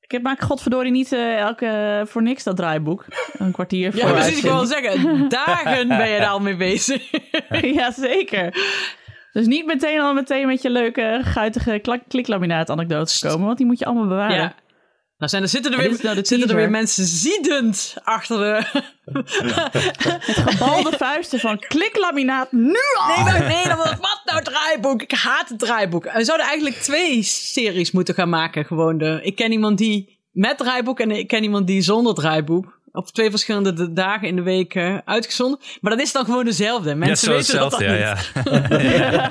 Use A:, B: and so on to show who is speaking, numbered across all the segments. A: Ik maak godverdorie niet eh, elke voor niks dat draaiboek. Een kwartier voor
B: Ja,
A: de
B: precies. Ik wil wel
A: uitzending.
B: zeggen, dagen ben je daar al mee bezig.
A: ja, zeker. Dus niet meteen al meteen met je leuke, guitige klak- kliklaminaat anekdotes komen. Want die moet je allemaal bewaren.
B: Ja. Nou, zijn er, zitten, er
A: Dit
B: weer,
A: is nou de
B: zitten er
A: teaser.
B: weer mensen ziedend achter de...
A: Gebalde vuisten van kliklaminaat nu al!
B: Nee, maar, nee, dan, wat nou draaiboek? Ik haat het draaiboek. We zouden eigenlijk twee series moeten gaan maken. Gewoon de, ik ken iemand die met draaiboek en ik ken iemand die zonder draaiboek. Op twee verschillende d- dagen in de week eh, uitgezonden. Maar dat is dan gewoon dezelfde.
C: Net
B: Mensen
C: zo
B: weten dat
C: hetzelfde,
B: dan
C: ja,
B: niet.
C: ja.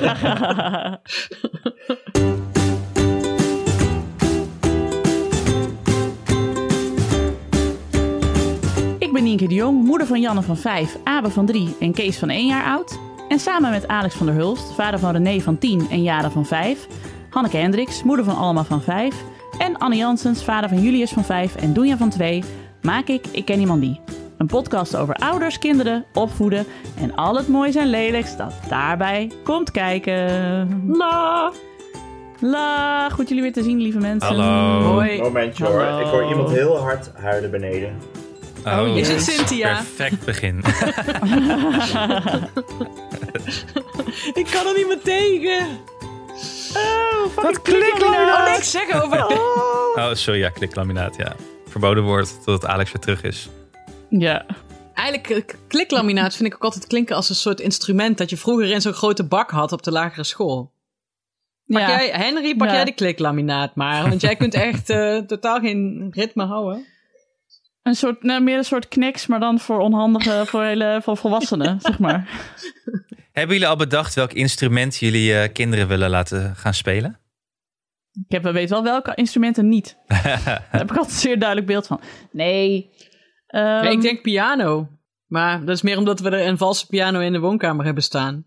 A: Ik ben Nienke de Jong, moeder van Janne van 5, Abe van 3 en Kees van 1 jaar oud. En samen met Alex van der Hulst, vader van René van 10 en Jara van 5. Hanneke Hendricks, moeder van Alma van 5. En Anne Jansens, vader van Julius van 5 en Doenja van 2. Maak ik Ik Ken Iemand Die. Een podcast over ouders, kinderen, opvoeden en al het moois en lelijks dat daarbij komt kijken. La!
B: Ah,
A: La! Goed jullie weer te zien, lieve mensen.
C: Hallo.
B: Hoi.
D: Momentje hoor,
A: Hallo.
D: ik hoor iemand heel hard huilen beneden.
C: Oh,
B: Is het
C: dat
B: Cynthia?
C: Perfect begin.
B: Ik kan er niet meer tegen.
A: Wat
B: Oh,
A: kliklaminaat!
B: niks zeggen over...
C: Oh, sorry, ja, kliklaminaat, ja. Verboden woord totdat Alex weer terug is.
A: Ja.
B: Eigenlijk, eh, kliklaminaat vind ik ook altijd klinken als een soort instrument... dat je vroeger in zo'n grote bak had op de lagere school. Pak
A: ja.
B: jij, Henry, pak
A: Ja.
B: jij de kliklaminaat maar. Want jij kunt echt eh, totaal geen ritme houden.
A: Een soort, nou, meer een soort kniks, maar dan voor onhandige, voor, hele, voor volwassenen, zeg maar.
C: Hebben jullie al bedacht welk instrument jullie eh, kinderen willen laten gaan spelen?
A: Ik heb, weet wel welke instrumenten niet. Daar heb ik altijd een zeer duidelijk beeld van. Nee. Ehm,
B: Nee, ik denk piano. Maar dat is meer omdat we er een valse piano in de woonkamer hebben staan.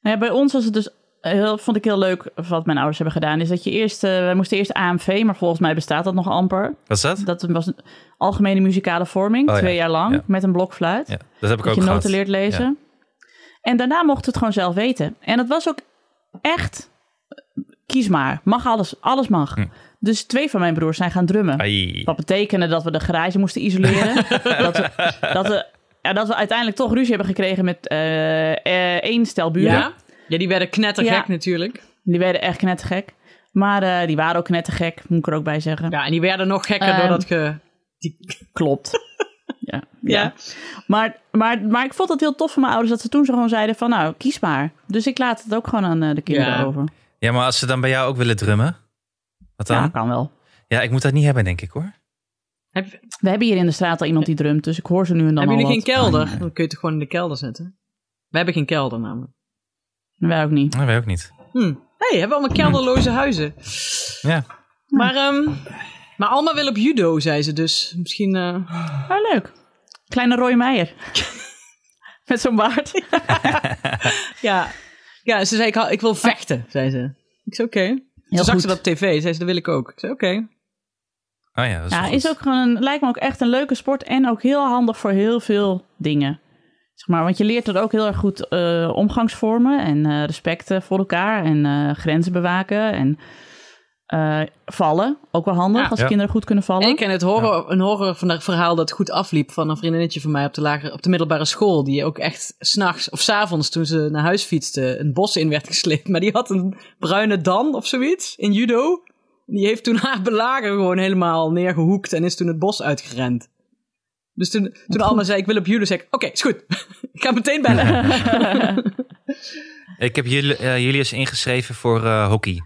A: nou ja, bij ons was het dus, heel, vond ik heel leuk wat mijn ouders hebben gedaan, is dat je eerst, eh, wij moesten eerst AMV, maar volgens mij bestaat dat nog amper.
C: Wat is dat?
A: Dat was een algemene muzikale vorming,
C: Oh ja,
A: twee jaar lang,
C: ja.
A: met een blokfluit.
C: Ja, dat heb ik
A: dat
C: ook
A: je
C: gehad.
A: noten leert lezen. En daarna mocht het gewoon zelf weten. En dat was ook echt, kies maar, mag alles, alles mag. Dus twee van mijn broers zijn gaan drummen.
C: Hm. Ai.
A: Wat betekende dat we de garage moesten isoleren. dat, we, dat, we, ja, dat we uiteindelijk toch ruzie hebben gekregen met eh, eh, één stel buren.
B: Ja? Ja, die werden knettergek
A: Ja.
B: natuurlijk.
A: Die werden echt knettergek. Maar eh, die waren ook knettergek, moet ik er ook bij zeggen.
B: Ja, en die werden nog gekker
A: Ehm,
B: doordat ge... Die...
A: Klopt. ja, ja.
B: Ja.
A: Maar, maar, maar ik vond het heel tof van mijn ouders dat ze toen zo gewoon zeiden van nou, kies maar. Dus ik laat het ook gewoon aan eh, de kinderen
B: Ja.
A: over.
C: Ja, maar als ze dan bij jou ook willen drummen? Wat dan?
A: Ja,
C: Ja,
A: kan wel.
C: ik moet dat niet hebben, denk ik hoor.
B: Heb, hebben
A: We hebben hier in de straat al iemand die drumt, dus ik hoor ze nu en dan al
B: jullie geen
A: wat.
B: kelder? Dan kun je het gewoon in de kelder zetten. We hebben geen kelder namelijk.
A: Wij ook niet.
C: Nee, wij ook niet.
B: Hm. hey, hebben we allemaal kelderloze huizen.
C: Ja.
B: Maar, ehm maar Alma wil op judo, zei ze dus. Misschien... eh,
A: Oh, leuk. Kleine Roy Meijer. Met zo'n baard.
B: Ja. Ja, ze zei, ik, hou- ik wil vechten, zei ze. Ik zei, oké. Toen
A: Heel
B: zag
A: goed.
B: ze dat op tv, zei ze, dat wil ik ook. Ik zei, oké.
C: Oh ja, dat is
A: Ja,
C: wel
A: is
C: goed.
A: ook gewoon een, lijkt me ook echt een leuke sport en ook heel handig voor heel veel dingen. Zeg maar, want je leert er ook heel erg goed eh, omgangsvormen en eh, respect eh, voor elkaar en eh, grenzen bewaken en eh, vallen. Ook wel handig
B: Ja.
A: als
C: Ja.
A: kinderen goed kunnen vallen.
B: En ik ken het horror, een horror van dat verhaal dat goed afliep van een vriendinnetje van mij op de, lagere, op de middelbare school. Die ook echt s'nachts of s'avonds toen ze naar huis fietste een bos in werd gesleept. Maar die had een bruine dan of zoiets in judo. Die heeft toen haar belager gewoon helemaal neergehoekt en is toen het bos uitgerend. Dus toen, toen Alma zei, ik wil op judo, zei ik, oké, is goed. ik ga meteen bellen.
C: Ik heb jullie, eh, Julius ingeschreven voor eh, hockey.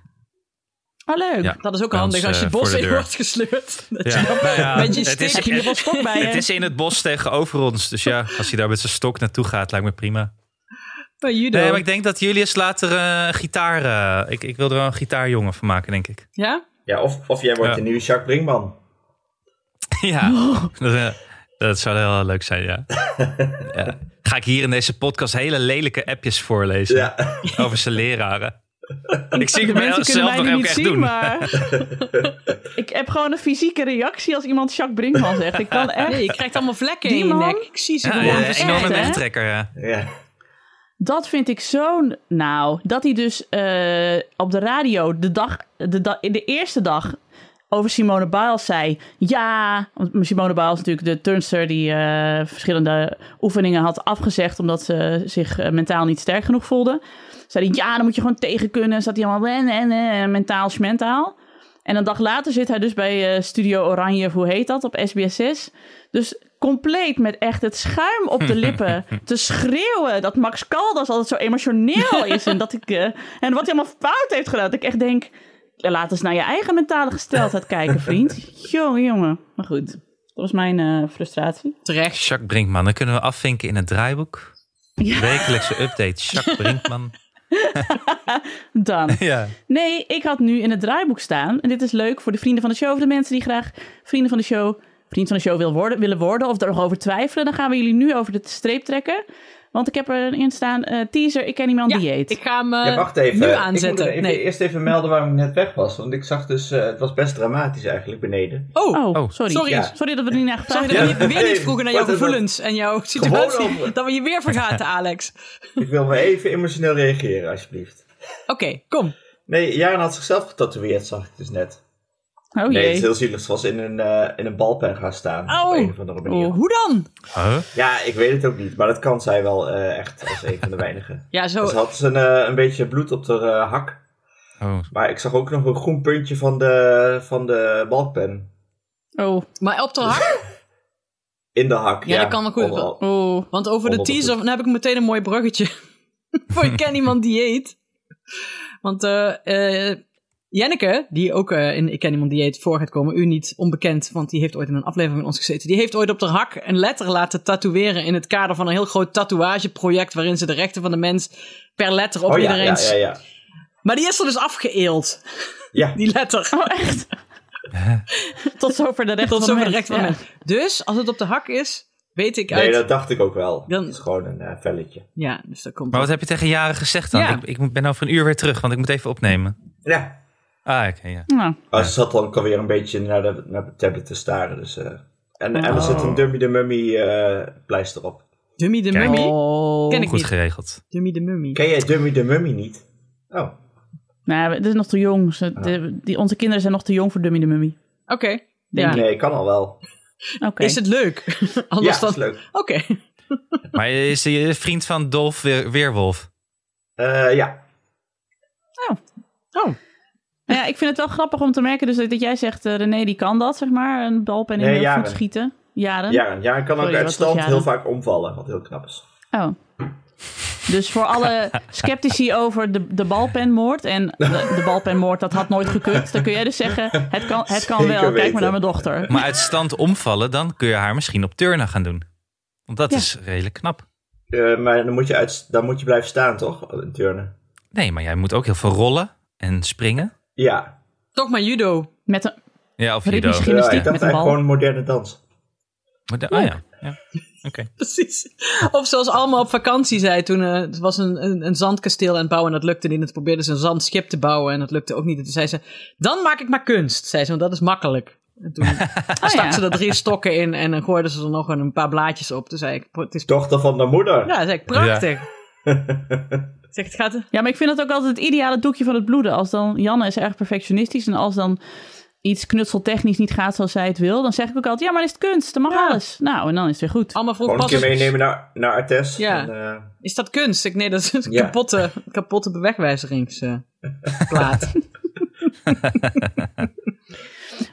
A: Oh, leuk.
C: Ja.
B: Dat is ook
C: Bij
B: handig
C: ons,
B: als je
C: eh,
B: bos
C: voor de
B: in
C: deur.
B: wordt gesleurd. Dat je-
C: Nou ja,
B: Met je
C: het, is,
B: stick.
A: Heb je nog wel stok bij
C: het
A: je?
C: is in het bos tegenover ons. Dus ja, als hij daar met zijn stok naartoe gaat, lijkt me prima.
B: Bij judo.
C: Nee, maar ik denk dat Julius later eh gitaar... eh, ik, ik wil er wel een gitaarjongen van maken, denk ik.
B: Ja?
D: Ja, of, of jij wordt
C: Ja.
D: de nieuwe Jacques Brinkman.
C: Ja, dat, eh, dat zou heel leuk zijn, ja. ja. Ga ik hier in deze podcast hele lelijke appjes voorlezen
D: Ja,
C: over zijn leraren. Ik zie
A: De
C: het
A: mensen kunnen
C: zelf
A: mij
C: nog
A: nu
C: ook
A: niet
C: echt
A: zien,
C: doen.
A: maar ik heb gewoon een fysieke reactie als iemand Jacques Brinkman zegt. Ik kan echt...
B: Nee, je krijgt allemaal vlekken
A: Die
B: in je
A: man?
B: nek. Ik zie ze
C: Ja,
B: gewoon.
C: ja,
A: echt,
C: enorme
A: hè?
C: wegtrekker, ja.
D: ja.
B: Eh,
A: Dat vind ik zo'n. Nou, dat hij dus eh, op de radio de, dag, de, da- in de eerste dag over Simone Biles zei. Ja, want Simone Biles is natuurlijk de turnster die eh, verschillende oefeningen had afgezegd omdat ze zich eh, mentaal niet sterk genoeg voelde. Zei hij, ja, dan moet je gewoon tegen kunnen. En zat hij allemaal en, en, en, mentaal, schmentaal. En een dag later zit hij dus bij eh, Studio Oranje, of hoe heet dat, op SBS6. Dus compleet met echt het schuim op de lippen te schreeuwen dat Max Caldas altijd zo emotioneel is. En, dat ik, eh, en wat hij allemaal fout heeft gedaan. Dat ik echt denk, ja, laat eens naar je eigen mentale gesteldheid kijken, vriend. Jongen, jongen. Maar goed, dat was mijn eh, frustratie.
B: Terecht.
C: Jacques Brinkman, dan kunnen we afvinken in het draaiboek.
A: Ja.
C: Wekelijkse update, Jacques Brinkman.
A: Dan.
C: Ja.
A: Nee, ik had nu in het draaiboek staan. En dit is leuk voor de vrienden van de show. Of de mensen die graag vrienden van de show. Vriend van de show wil worden, willen worden. Of er nog over twijfelen. Dan gaan we jullie nu over de streep trekken. Want ik heb erin staan. eh, teaser, ik ken iemand
B: Ja,
A: die eet.
B: ik ga hem eh,
D: ja, wacht even.
B: nu
D: Ik moet
B: aanzetten.
D: er even-
B: nee.
D: eerst even melden waarom ik net weg was. Want ik zag dus, eh, het was best dramatisch eigenlijk beneden.
B: Oh,
A: Oh,
C: Oh,
A: sorry.
B: sorry.
A: Sorry.
D: Ja.
A: dat we er niet naar gevraagd
B: sorry
A: hebben.
B: dat we
D: Ja.
B: niet- weer niet
D: Nee,
B: vroegen naar jouw
D: wat is dat?
B: gevoelens en jouw situatie.
D: over.
B: Dat we je weer vergaten, Alex.
D: Ik wil maar even emotioneel reageren, alsjeblieft.
B: Oké, kom.
D: Nee, Jaren had zichzelf getatoeëerd, zag ik dus net.
A: Oh
D: Nee, het is
A: jee.
D: heel zielig. Ze was in een, eh, in een balpen gaan staan.
B: Au.
D: Op een of andere manier.
B: Oh, hoe dan?
C: Huh?
D: Ja, ik weet het ook niet. Maar dat kan zij wel eh, echt als een van de weinigen.
B: Ja, zo.
D: Ze had dus een, eh, een beetje bloed op haar eh, hak.
C: Oh,
D: Maar ik zag ook nog een groen puntje van de, van de balpen.
A: Oh,
B: Maar op de hak?
D: In de hak.
B: Ja,
D: Ja,
B: dat kan wel goed.
D: Overal.
A: oh.
B: Want over de
D: Onder de
B: teaser, dan heb ik meteen een mooi bruggetje. Voor ik ken iemand die eet. Want eh, eh, Jenneke, die ook eh, in Ik ken iemand die eet voor gaat komen, u niet onbekend, want die heeft ooit in een aflevering met ons gezeten. Die heeft ooit op de hak een letter laten tatoeëren in het kader van een heel groot tatoeageproject waarin ze de rechten van de mens per letter op
D: Oh ja,
B: iedereen...
D: ja, ja, ja.
B: Maar die is er dus afgeëeld,
D: Ja,
B: die letter.
A: Oh, echt? Tot zover de recht
B: Tot
A: van
B: zover
A: de
B: de
A: mens.
B: rechten van de mens. Dus als het op de hak is, weet ik
D: nee,
B: uit...
D: dat dacht ik ook wel.
B: Dan-
D: Dat is gewoon een eh, velletje.
B: Ja, dus dat komt...
C: Maar wat heb je tegen Jaren gezegd dan?
B: Ja.
C: Ik, ik moet- ben over een uur weer terug, want ik moet even opnemen.
D: Ja.
C: Ah, oké, ja.
A: Ja. Nou,
D: Oh, ze zat dan ook alweer een beetje naar de, naar de tablet te staren. Dus, eh, en, en er
B: Oh.
D: zit een Dummy de Mummy eh, pleister op.
B: Dummy de
C: Kijk.
B: Mummy?
A: Oh.
B: Ken ik
C: Goed
B: niet.
C: geregeld.
B: Dummy de Mummy.
D: Ken jij Dummy de Mummy niet? Oh,
A: nou, dit is nog te jong. Ze- de- die, onze kinderen zijn nog te jong voor Dummy de Mummy.
B: Oké.
A: Denk
B: Ja.
D: nee, kan al wel.
A: Oké.
B: Is het leuk? Anders
D: ja,
B: dan...
D: is leuk.
B: Oké.
C: Maar is je vriend van Dolf weer, Weerwolf?
D: Eh, ja.
B: Oh.
A: Nou ja, ik vind het wel grappig om te merken dus dat, dat jij zegt, eh, René die kan dat, zeg maar. Een balpen in
D: Nee,
A: de voet
D: Jaren.
A: schieten. Jaren.
D: Jaren, Jaren kan
A: Sorry,
D: ook
A: wat
D: uit
A: was
D: stand
A: Jaren?
D: heel vaak omvallen, wat heel knap is.
A: Oh. Dus voor alle sceptici over de, de balpenmoord. En de, de balpenmoord, dat had nooit gekund. Dan kun jij dus zeggen, het kan, het kan
D: Zeker
A: wel. Kijk maar
D: weten.
A: naar mijn dochter.
C: Maar uit stand omvallen, dan kun je haar misschien op turnen gaan doen. Want dat
A: Ja.
C: is redelijk knap.
D: Eh, maar dan moet, je uit, dan moet je blijven staan, toch? In turnen.
C: Nee, maar jij moet ook heel veel rollen en springen.
D: Ja.
B: Toch maar judo.
A: Met een,
C: Ja, of judo.
A: Ritmisch
C: Oh
D: ja ik
A: Gymnastiek
D: dacht
A: met een
D: eigenlijk
A: bal.
D: gewoon moderne dans.
C: Ah, ja. ja. Oké.
B: Precies. Of zoals Alma op vakantie zei toen... eh, het was een, een, een zandkasteel aan het bouwen en dat lukte niet. En toen probeerde ze een zandschip te bouwen en dat lukte ook niet. En toen zei ze, dan maak ik maar kunst. Zei ze, want dat is makkelijk. En toen
A: oh
B: stak ze
A: ja.
B: er drie stokken in en dan gooiden ze er nog een paar blaadjes op. Toen zei ik, het is...
D: Dochter van de moeder.
B: Ja, zei ik, prachtig. Ik zeg, het gaat...
A: ja, maar ik vind dat ook altijd het ideale doekje van het bloeden. Als dan, Janne is erg perfectionistisch. En als dan iets knutseltechnisch niet gaat zoals zij het wil. Dan zeg ik ook altijd, ja, maar dan is het kunst. Dan mag
B: Ja. Ah.
A: alles. Nou, en dan is het weer goed.
B: Alma vroeg
D: Gewoon een
B: pas...
D: keer meenemen naar, naar Artes.
B: Ja.
D: En, eh,
B: Is dat kunst? Ik, nee, dat is een
D: Ja.
B: kapotte, kapotte bewegwijzeringsplaat.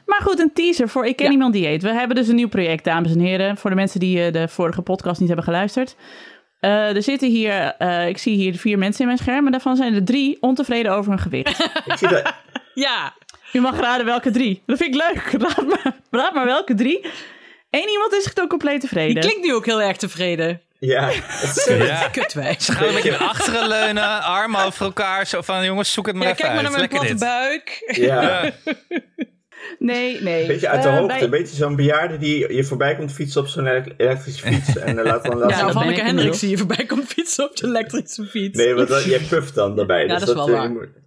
A: Maar goed, een teaser voor Ik Ken
B: Ja.
A: Iemand Die Eet. We hebben dus een nieuw project, dames en heren. Voor de mensen die eh, de vorige podcast niet hebben geluisterd. Eh, er zitten hier, eh, ik zie hier vier mensen in mijn scherm. En daarvan zijn er drie ontevreden over hun gewicht.
D: ik zie dat...
B: ja.
A: U mag raden welke drie. Dat vind ik leuk. Raad maar, raad maar welke drie. Eén iemand is gewoon compleet
B: Die
A: tevreden.
B: klinkt nu ook heel erg tevreden.
D: Ja.
C: Ja.
B: Kutwijs.
C: Gaan we een beetje naar achteren leunen, armen over elkaar. Zo van, jongens, zoek het maar
B: Ja,
C: even
B: kijk maar
C: uit.
B: naar mijn
C: Lekker
B: platte
C: dit.
B: buik.
D: ja.
C: Ja.
A: Nee, nee.
D: Een beetje uit de
A: Eh,
D: hoogte.
A: bij-
D: Een beetje zo'n bejaarde die je voorbij komt fietsen op zo'n elek- elektrische fiets. En eh, laat dan laat
A: Ja, dat
B: nou,
A: ben
B: Vanneke
A: ik
B: Hendricks
A: inmiddels.
B: zie je voorbij komt fietsen op de elektrische fiets.
D: Nee, want dat, jij puft dan
B: Ja,
D: daarbij. dus
B: dat is wel
D: eh,
B: waar.
D: moet-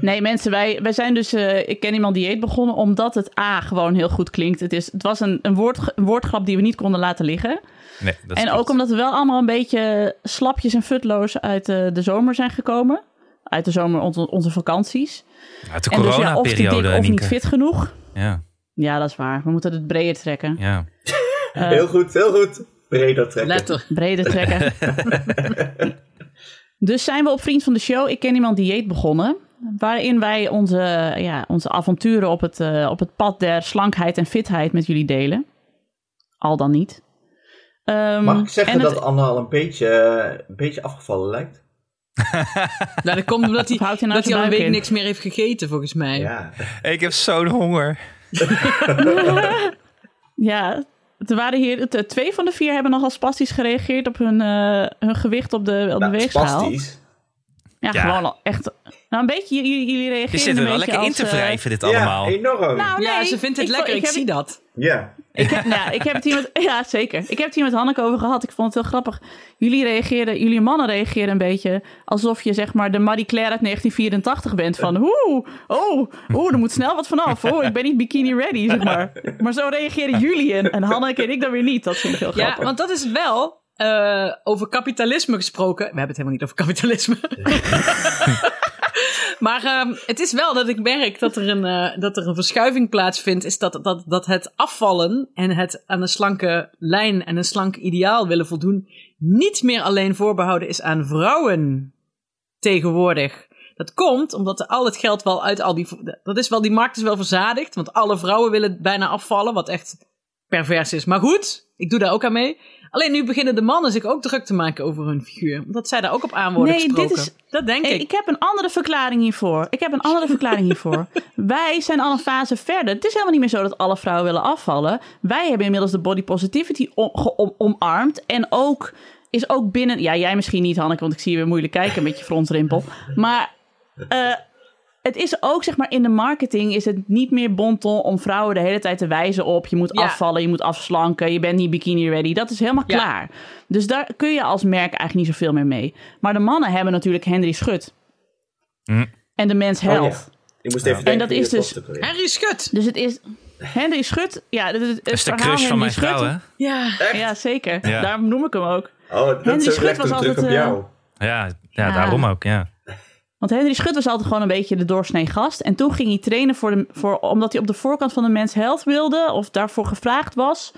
A: Nee, mensen, wij, wij zijn dus eh, Ik Ken Iemand Dieet begonnen omdat het A gewoon heel goed klinkt. Het, is, het was een, een, woord, een woordgrap die we niet konden laten liggen.
C: Nee, dat is
A: En
C: goed.
A: ook omdat we wel allemaal een beetje slapjes en futloos uit eh, de zomer zijn gekomen. uit de zomer ont- onze vakanties.
C: Uit de
A: En dus ja, of te
C: coronaperiode,
A: dik of niet
C: Nienke.
A: fit genoeg.
C: Ja,
A: Ja, dat is waar. We moeten het breder trekken.
C: ja.
A: Eh,
D: Heel goed, heel goed. Breder trekken.
B: Letter.
A: breder trekken. dus zijn we op Vriend van de Show. Ik ken iemand dieet begonnen. Waarin wij onze, eh, ja, onze avonturen op het, eh, op het pad der slankheid en fitheid met jullie delen. Al dan niet. Ehm,
D: Mag ik zeggen
A: en het-
D: dat Anna al een beetje, eh, een beetje afgevallen lijkt?
B: Nou, dat komt omdat hij,
A: Of houdt hij nou
B: dat hij
A: zijn
B: al een
A: buik
B: week
A: in?
B: niks meer heeft gegeten, volgens mij.
D: Ja.
C: Ik heb zo'n honger.
A: Ja, er waren hier t- twee van de vier hebben nogal spastisch gereageerd op hun, eh, hun gewicht op de, op de
D: Nou,
A: weegschaal.
D: spastisch.
A: Ja,
C: Ja.
A: gewoon al echt. Nou, een beetje jullie, jullie reageren.
C: Je zit er
A: een
C: wel
A: beetje
C: lekker in
A: als,
C: te
A: eh,
C: wrijven, dit
D: Ja,
C: allemaal.
D: enorm.
A: nou,
B: Ja,
A: nee,
B: ze vindt het
A: ik vo-
B: lekker, ik,
A: heb
B: zie
A: het-
B: dat.
D: Ja.
A: Ik heb, nou, ik heb het hier met, ja, zeker. Ik heb het hier met Hanneke over gehad. Ik vond het heel grappig. Jullie reageerden, jullie mannen reageerden een beetje alsof je zeg maar de Marie Claire uit 1984 bent. Van oeh, oh, oeh, er moet snel wat vanaf. Oh, ik ben niet bikini ready, zeg maar. Maar zo reageerden jullie en, en Hanneke en ik dan weer niet. Dat vind ik heel
B: Ja,
A: grappig.
B: want dat is het wel. eh, over kapitalisme gesproken. We hebben het helemaal niet over kapitalisme. maar ehm, het is wel dat ik merk dat er een, eh, dat er een verschuiving plaatsvindt. Is dat, dat, dat het afvallen en het aan een slanke lijn en een slank ideaal willen voldoen. niet meer alleen voorbehouden is aan vrouwen tegenwoordig. Dat komt omdat al het geld wel uit al die. Dat is wel, die markt is wel verzadigd. Want alle vrouwen willen bijna afvallen. Wat echt pervers is. Maar goed, ik doe daar ook aan mee. Alleen nu beginnen de mannen zich ook druk te maken over hun figuur. Omdat zij daar ook op aan worden
A: Nee, dit
B: gesproken.
A: is-
B: dat denk
A: Hey,
B: ik.
A: ik heb een andere verklaring hiervoor. Ik heb een andere verklaring hiervoor. Wij zijn al een fase verder. Het is helemaal niet meer zo dat alle vrouwen willen afvallen. Wij hebben inmiddels de body positivity o- ge- om- omarmd. En ook is ook binnen. Ja, jij misschien niet, Hanneke, want ik zie je weer moeilijk kijken met je fronsrimpel. Maar eh, het is ook, zeg maar, in de marketing is het niet meer bonton om vrouwen de hele tijd te wijzen op. Je moet
B: Ja.
A: afvallen, je moet afslanken, je bent niet bikini ready. Dat is helemaal
B: Ja.
A: klaar. Dus daar kun je als merk eigenlijk niet zoveel meer mee. Maar de mannen hebben natuurlijk Henry Schut.
C: Hm.
A: En de mens
D: Oh, ja.
A: health.
D: Ik moest even denken.
A: En dat
D: wie
A: is
D: was
A: dus-
D: ook alweer.
B: Henry Schut.
A: Dus het is... Henry Schut, ja, het, het, het
C: Dat is de
A: verhaal
C: crush
A: Henry
C: van mijn vrouw,
A: Schut-
C: hè?
B: Ja.
A: Ja, zeker.
C: Ja.
A: Daarom noem ik hem ook.
D: Oh, dat
A: Henry
D: is ook
A: Schut
D: echt
A: was
D: een druk
A: altijd,
D: op
A: eh,
D: jou.
C: Ja, ja,
A: Ja.
C: daarom ook, ja.
A: Want Henry Schut was altijd gewoon een beetje de doorsnee gast. En toen ging hij trainen voor de, voor, omdat hij op de voorkant van de Mens Health wilde. Of daarvoor gevraagd was.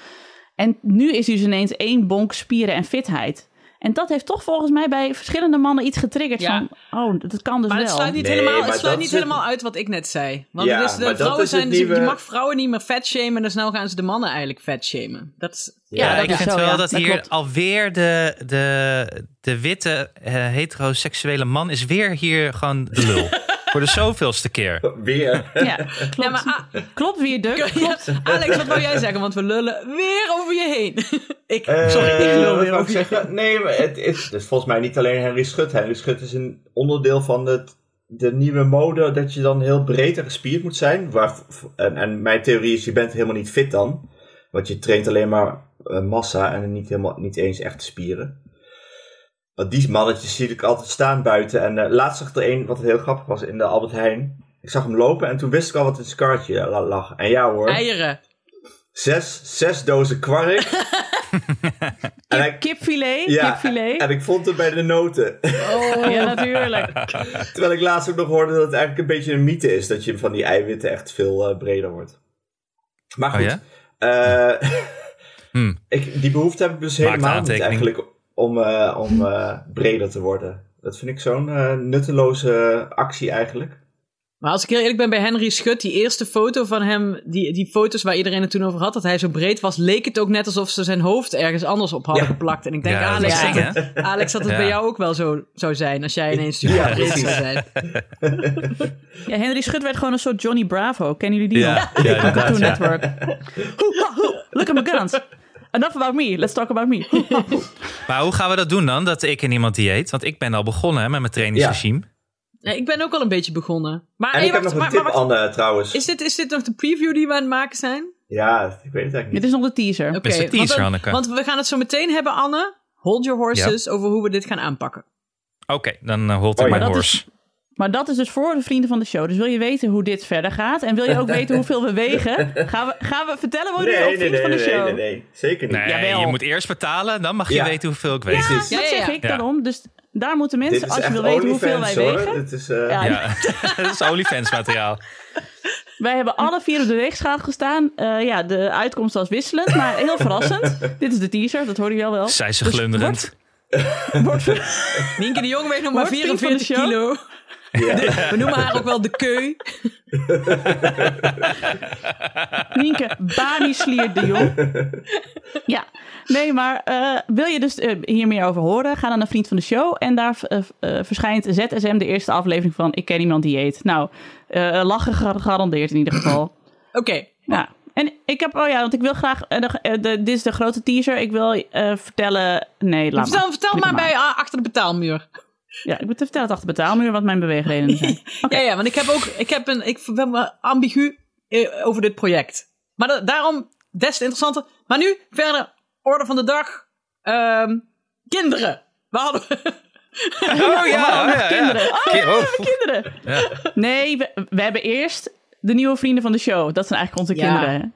A: En nu is hij dus ineens één bonk spieren en fitheid. En dat heeft toch volgens mij bij verschillende mannen iets getriggerd
B: Ja.
A: van... Oh, dat kan dus
B: Maar
A: wel.
B: het sluit niet,
D: Nee,
B: helemaal,
D: maar
B: het sluit
D: dat
B: niet
D: is het-
B: helemaal uit wat ik net zei. Want
D: Ja,
B: dus de
D: maar dat
B: vrouwen
D: is het
B: zijn, dus je
D: nieuwe-
B: mag vrouwen niet meer vet shamen, dus nou gaan ze de mannen eigenlijk vet shamen. Dat is,
A: Ja,
C: Ja,
A: dat
C: ik
A: is
C: vind
A: zo,
C: wel
A: ja.
C: dat
A: Dat
C: hier
A: klopt.
C: alweer de, de, de witte eh, heteroseksuele man is weer hier gewoon de lul. Voor de zoveelste keer.
D: Weer.
A: Ja, klopt.
B: Ja, maar A-
A: Klopt weer, Duk. Klopt.
B: Ja, Alex, wat wil jij zeggen? Want we lullen weer over je heen. ik,
D: Eh,
B: sorry, ik
D: wat
B: lul
D: wou
B: weer
D: ik
B: over je
D: zeggen? Nee, maar het is, het is volgens mij niet alleen Henry Schut. Henry Schut is een onderdeel van het, de nieuwe mode dat je dan heel breed en gespierd moet zijn. Waar, en, en mijn theorie is, je bent helemaal niet fit dan. Want je traint alleen maar eh, massa en niet, helemaal, niet eens echt spieren. Want die mannetjes zie ik altijd staan buiten. En eh, laatst zag ik er een, wat heel grappig was, in de Albert Heijn. Ik zag hem lopen en toen wist ik al wat in zijn kaartje la- lag. En ja hoor,
B: eieren.
D: zes, zes dozen kwark. en hij,
A: Kipfilet,
D: ja,
A: kipfilet.
D: en ik vond het bij de noten.
A: Oh, ja, natuurlijk.
D: Terwijl ik laatst ook nog hoorde dat het eigenlijk een beetje een mythe is. Dat je van die eiwitten echt veel eh, breder wordt. Maar
C: Oh
D: goed.
C: ja?
D: eh,
C: Hm.
D: ik, die behoefte heb ik dus
C: Maak de
D: helemaal niet
C: aantekening.
D: eigenlijk om, eh, om eh, breder te worden. Dat vind ik zo'n eh, nutteloze actie eigenlijk.
B: Maar als ik heel eerlijk ben bij Henry Schut, die eerste foto van hem, die, die foto's waar iedereen het toen over had, dat hij zo breed was, leek het ook net alsof ze zijn hoofd ergens anders op hadden
D: Ja.
B: geplakt. En ik denk,
C: ja, dat
B: Alex,
A: is
B: dat
A: eng,
B: het-
C: hè?
B: Alex, dat het
C: Ja.
B: bij jou ook wel zo zou zijn als jij ineens
D: Ja,
B: super breed zou
D: precies.
B: zijn.
A: Ja, Henry Schut werd gewoon een soort Johnny Bravo. Kennen jullie die nog?
C: Ja, ja,
A: Van Cartoon
C: inderdaad. ja.
A: Network. Hoe, ha, hoe. Look at my guns. Enough about me. Let's talk about me. Hoe, ha, hoe.
C: Maar hoe gaan we dat doen dan, dat ik en iemand dieet? Want ik ben al begonnen hè, met mijn trainingsregime.
B: Ja, ik ben ook al een beetje begonnen. Maar,
D: En
B: hey,
D: ik heb
B: wacht,
D: nog een
B: maar-
D: tip,
B: maar wacht,
D: Anne, trouwens.
B: is, dit, is dit nog de preview die we aan het maken zijn?
D: Ja, ik weet het eigenlijk
A: Dit
D: niet.
A: is nog de teaser.
B: Oké,
C: Dit is de teaser,
B: want,
C: Hanneke.
B: Want we gaan het zo meteen hebben, Anne. Hold your horses over hoe we dit gaan aanpakken.
C: Oké, dan eh, holt ik
D: Oh, ja.
A: Maar
C: mijn
A: dat
C: horse.
A: is- Maar dat is dus voor de vrienden van de show. Dus wil je weten hoe dit verder gaat? En wil je ook weten hoeveel we wegen? Gaan we, gaan we vertellen worden op
D: Nee,
A: vrienden
D: nee, nee,
A: van de
D: nee,
A: show?
D: nee, nee, zeker niet.
C: Nee,
A: Jawel.
C: je moet eerst betalen, dan mag je
D: Ja.
C: weten hoeveel ik weeg.
D: Precies.
A: Dat
B: Ja, ja, ja.
A: zeg ik
C: Ja.
A: daarom. Dus Daar moeten
D: Dit
A: mensen,
D: is
A: als je
D: echt
A: wil weten hoeveel
D: OnlyFans
A: wij
D: hoor.
A: wegen.
D: Dit is, eh,
A: Ja.
C: Ja, dat is OnlyFans materiaal.
A: Wij hebben alle vier op de weegschaal gestaan. Eh, ja, de uitkomst was wisselend, maar heel verrassend. Dit is de teaser, dat hoorde je al wel.
C: Zij ze
A: Dus
C: glunderend.
A: Wordt ver-
B: Nienke de Jong weegt nog maar
A: Wordt vriend van de
B: 44 kilo.
D: eh,
B: We noemen haar ook wel de keu.
A: Nienke Banieslier de Jong. Ja, nee, maar eh, wil je dus eh, hier meer over horen? Ga dan naar Vriend van de Show. En daar eh, eh, verschijnt ZSM de eerste aflevering van Ik Ken Iemand Die Eet. Nou, eh, lachen gegarandeerd in ieder geval.
B: Oké,
A: Ja. En ik heb, oh ja, want ik wil graag, eh, de- eh, de- dit is de grote teaser. Ik wil eh, vertellen, nee, laat
B: vertel,
A: maar.
B: vertel
A: Doe
B: maar
A: dat
B: bij ah, achter de betaalmuur.
A: Ja, ik moet vertellen het achter betaalmuur wat mijn beweegredenen zijn.
B: Ja, ja, want ik heb ook, ik heb een, ik ben wel ambigu eh, over dit project. Maar da- daarom des te interessanter. Maar nu verder, orde van de dag. Ehm, kinderen. We hadden.
C: Oh ja, oh, ja, ja.
A: Kinderen. Oh,
C: Ki- oh.
A: kinderen.
C: Ja.
A: Nee, we, we hebben eerst de nieuwe vrienden van de show. Dat zijn eigenlijk onze
B: Ja.
A: kinderen.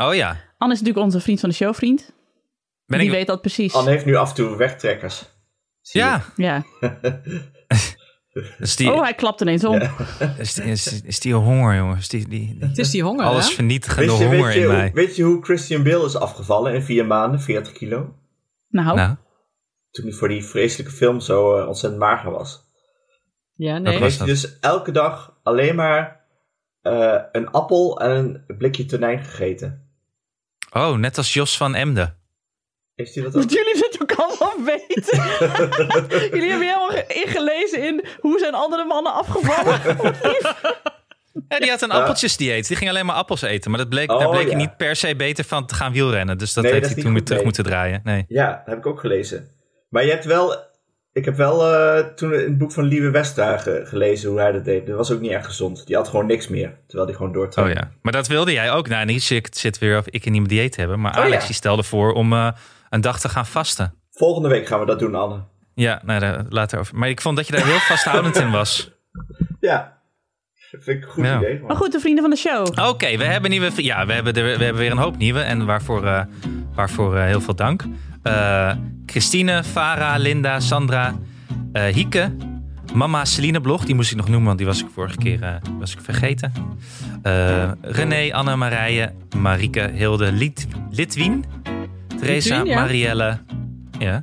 C: Oh ja.
A: Anne is natuurlijk onze vriend van de show vriend.
C: Ben
A: Die
C: ik...
A: weet dat precies.
D: Anne heeft nu af en toe wegtrekkers. Zie je.
C: Ja,
A: Ja.
C: is die,
A: Oh, hij klapt ineens om.
C: is die, is, is die honger, jongen. Is die, die, die-
B: Het is die honger,
C: alles
B: hè?
C: vernietigende
D: Weet je,
C: honger
D: weet, je,
C: in
D: hoe-
C: mij.
D: weet je hoe Christian Bale is afgevallen in vier maanden, 40 kilo?
A: Nou,
C: Nou,
D: Toen hij voor die vreselijke film zo eh, ontzettend mager was.
B: Ja, nee.
C: was-
D: Heeft hij dus elke dag alleen maar eh, een appel en een blikje tonijn gegeten.
C: oh, net als Jos van Emden.
D: Heeft hij dat ook?
A: dat jullie dat ook allemaal weten. jullie hebben helemaal ge- ingelezen in hoe zijn andere mannen afgevallen. Wat lief.
C: Ja, die had een appeltjesdieet. Die ging alleen maar appels eten. Maar dat bleek, daar
D: Oh,
C: bleek
D: ja.
C: hij niet per se beter van te gaan wielrennen. Dus dat
D: Nee,
C: heeft
D: dat is
C: hij
D: niet
C: toen weer
D: goed,
C: terug
D: nee.
C: moeten draaien. Nee.
D: Ja, heb ik ook gelezen. Maar je hebt wel... Ik heb wel eh, toen in het boek van Lieve Westra ge- gelezen hoe hij dat deed. Dat was ook niet echt gezond. Die had gewoon niks meer, terwijl hij gewoon
C: Oh
D: doortrok.
C: ja. Maar dat wilde jij ook. Nou, niet zit, zit weer of ik en iemand dieet hebben. Maar
D: Oh,
C: Alex
D: ja.
C: die stelde voor om eh, een dag te gaan vasten.
D: Volgende week gaan we dat doen, Anne.
C: Ja, nou, daar- later over. Maar ik vond dat je daar heel vasthoudend in was.
D: Ja, vind ik een goed
C: Ja.
D: idee. man.
A: Maar goed, de vrienden van de show.
C: Oké, we hebben nieuwe. Ja, we hebben, er, we hebben weer een hoop nieuwe. En waarvoor, eh, waarvoor eh, heel veel dank. Eh, Christine, Farah, Linda, Sandra, eh, Hieke. Mama Celine Blog, die moest ik nog noemen, want die was ik vorige keer eh, was ik vergeten. Eh, René, Anne, Marije, Marieke, Hilde, Lit, Litwien, Teresa,
B: Litwien, ja.
C: Marielle, ja.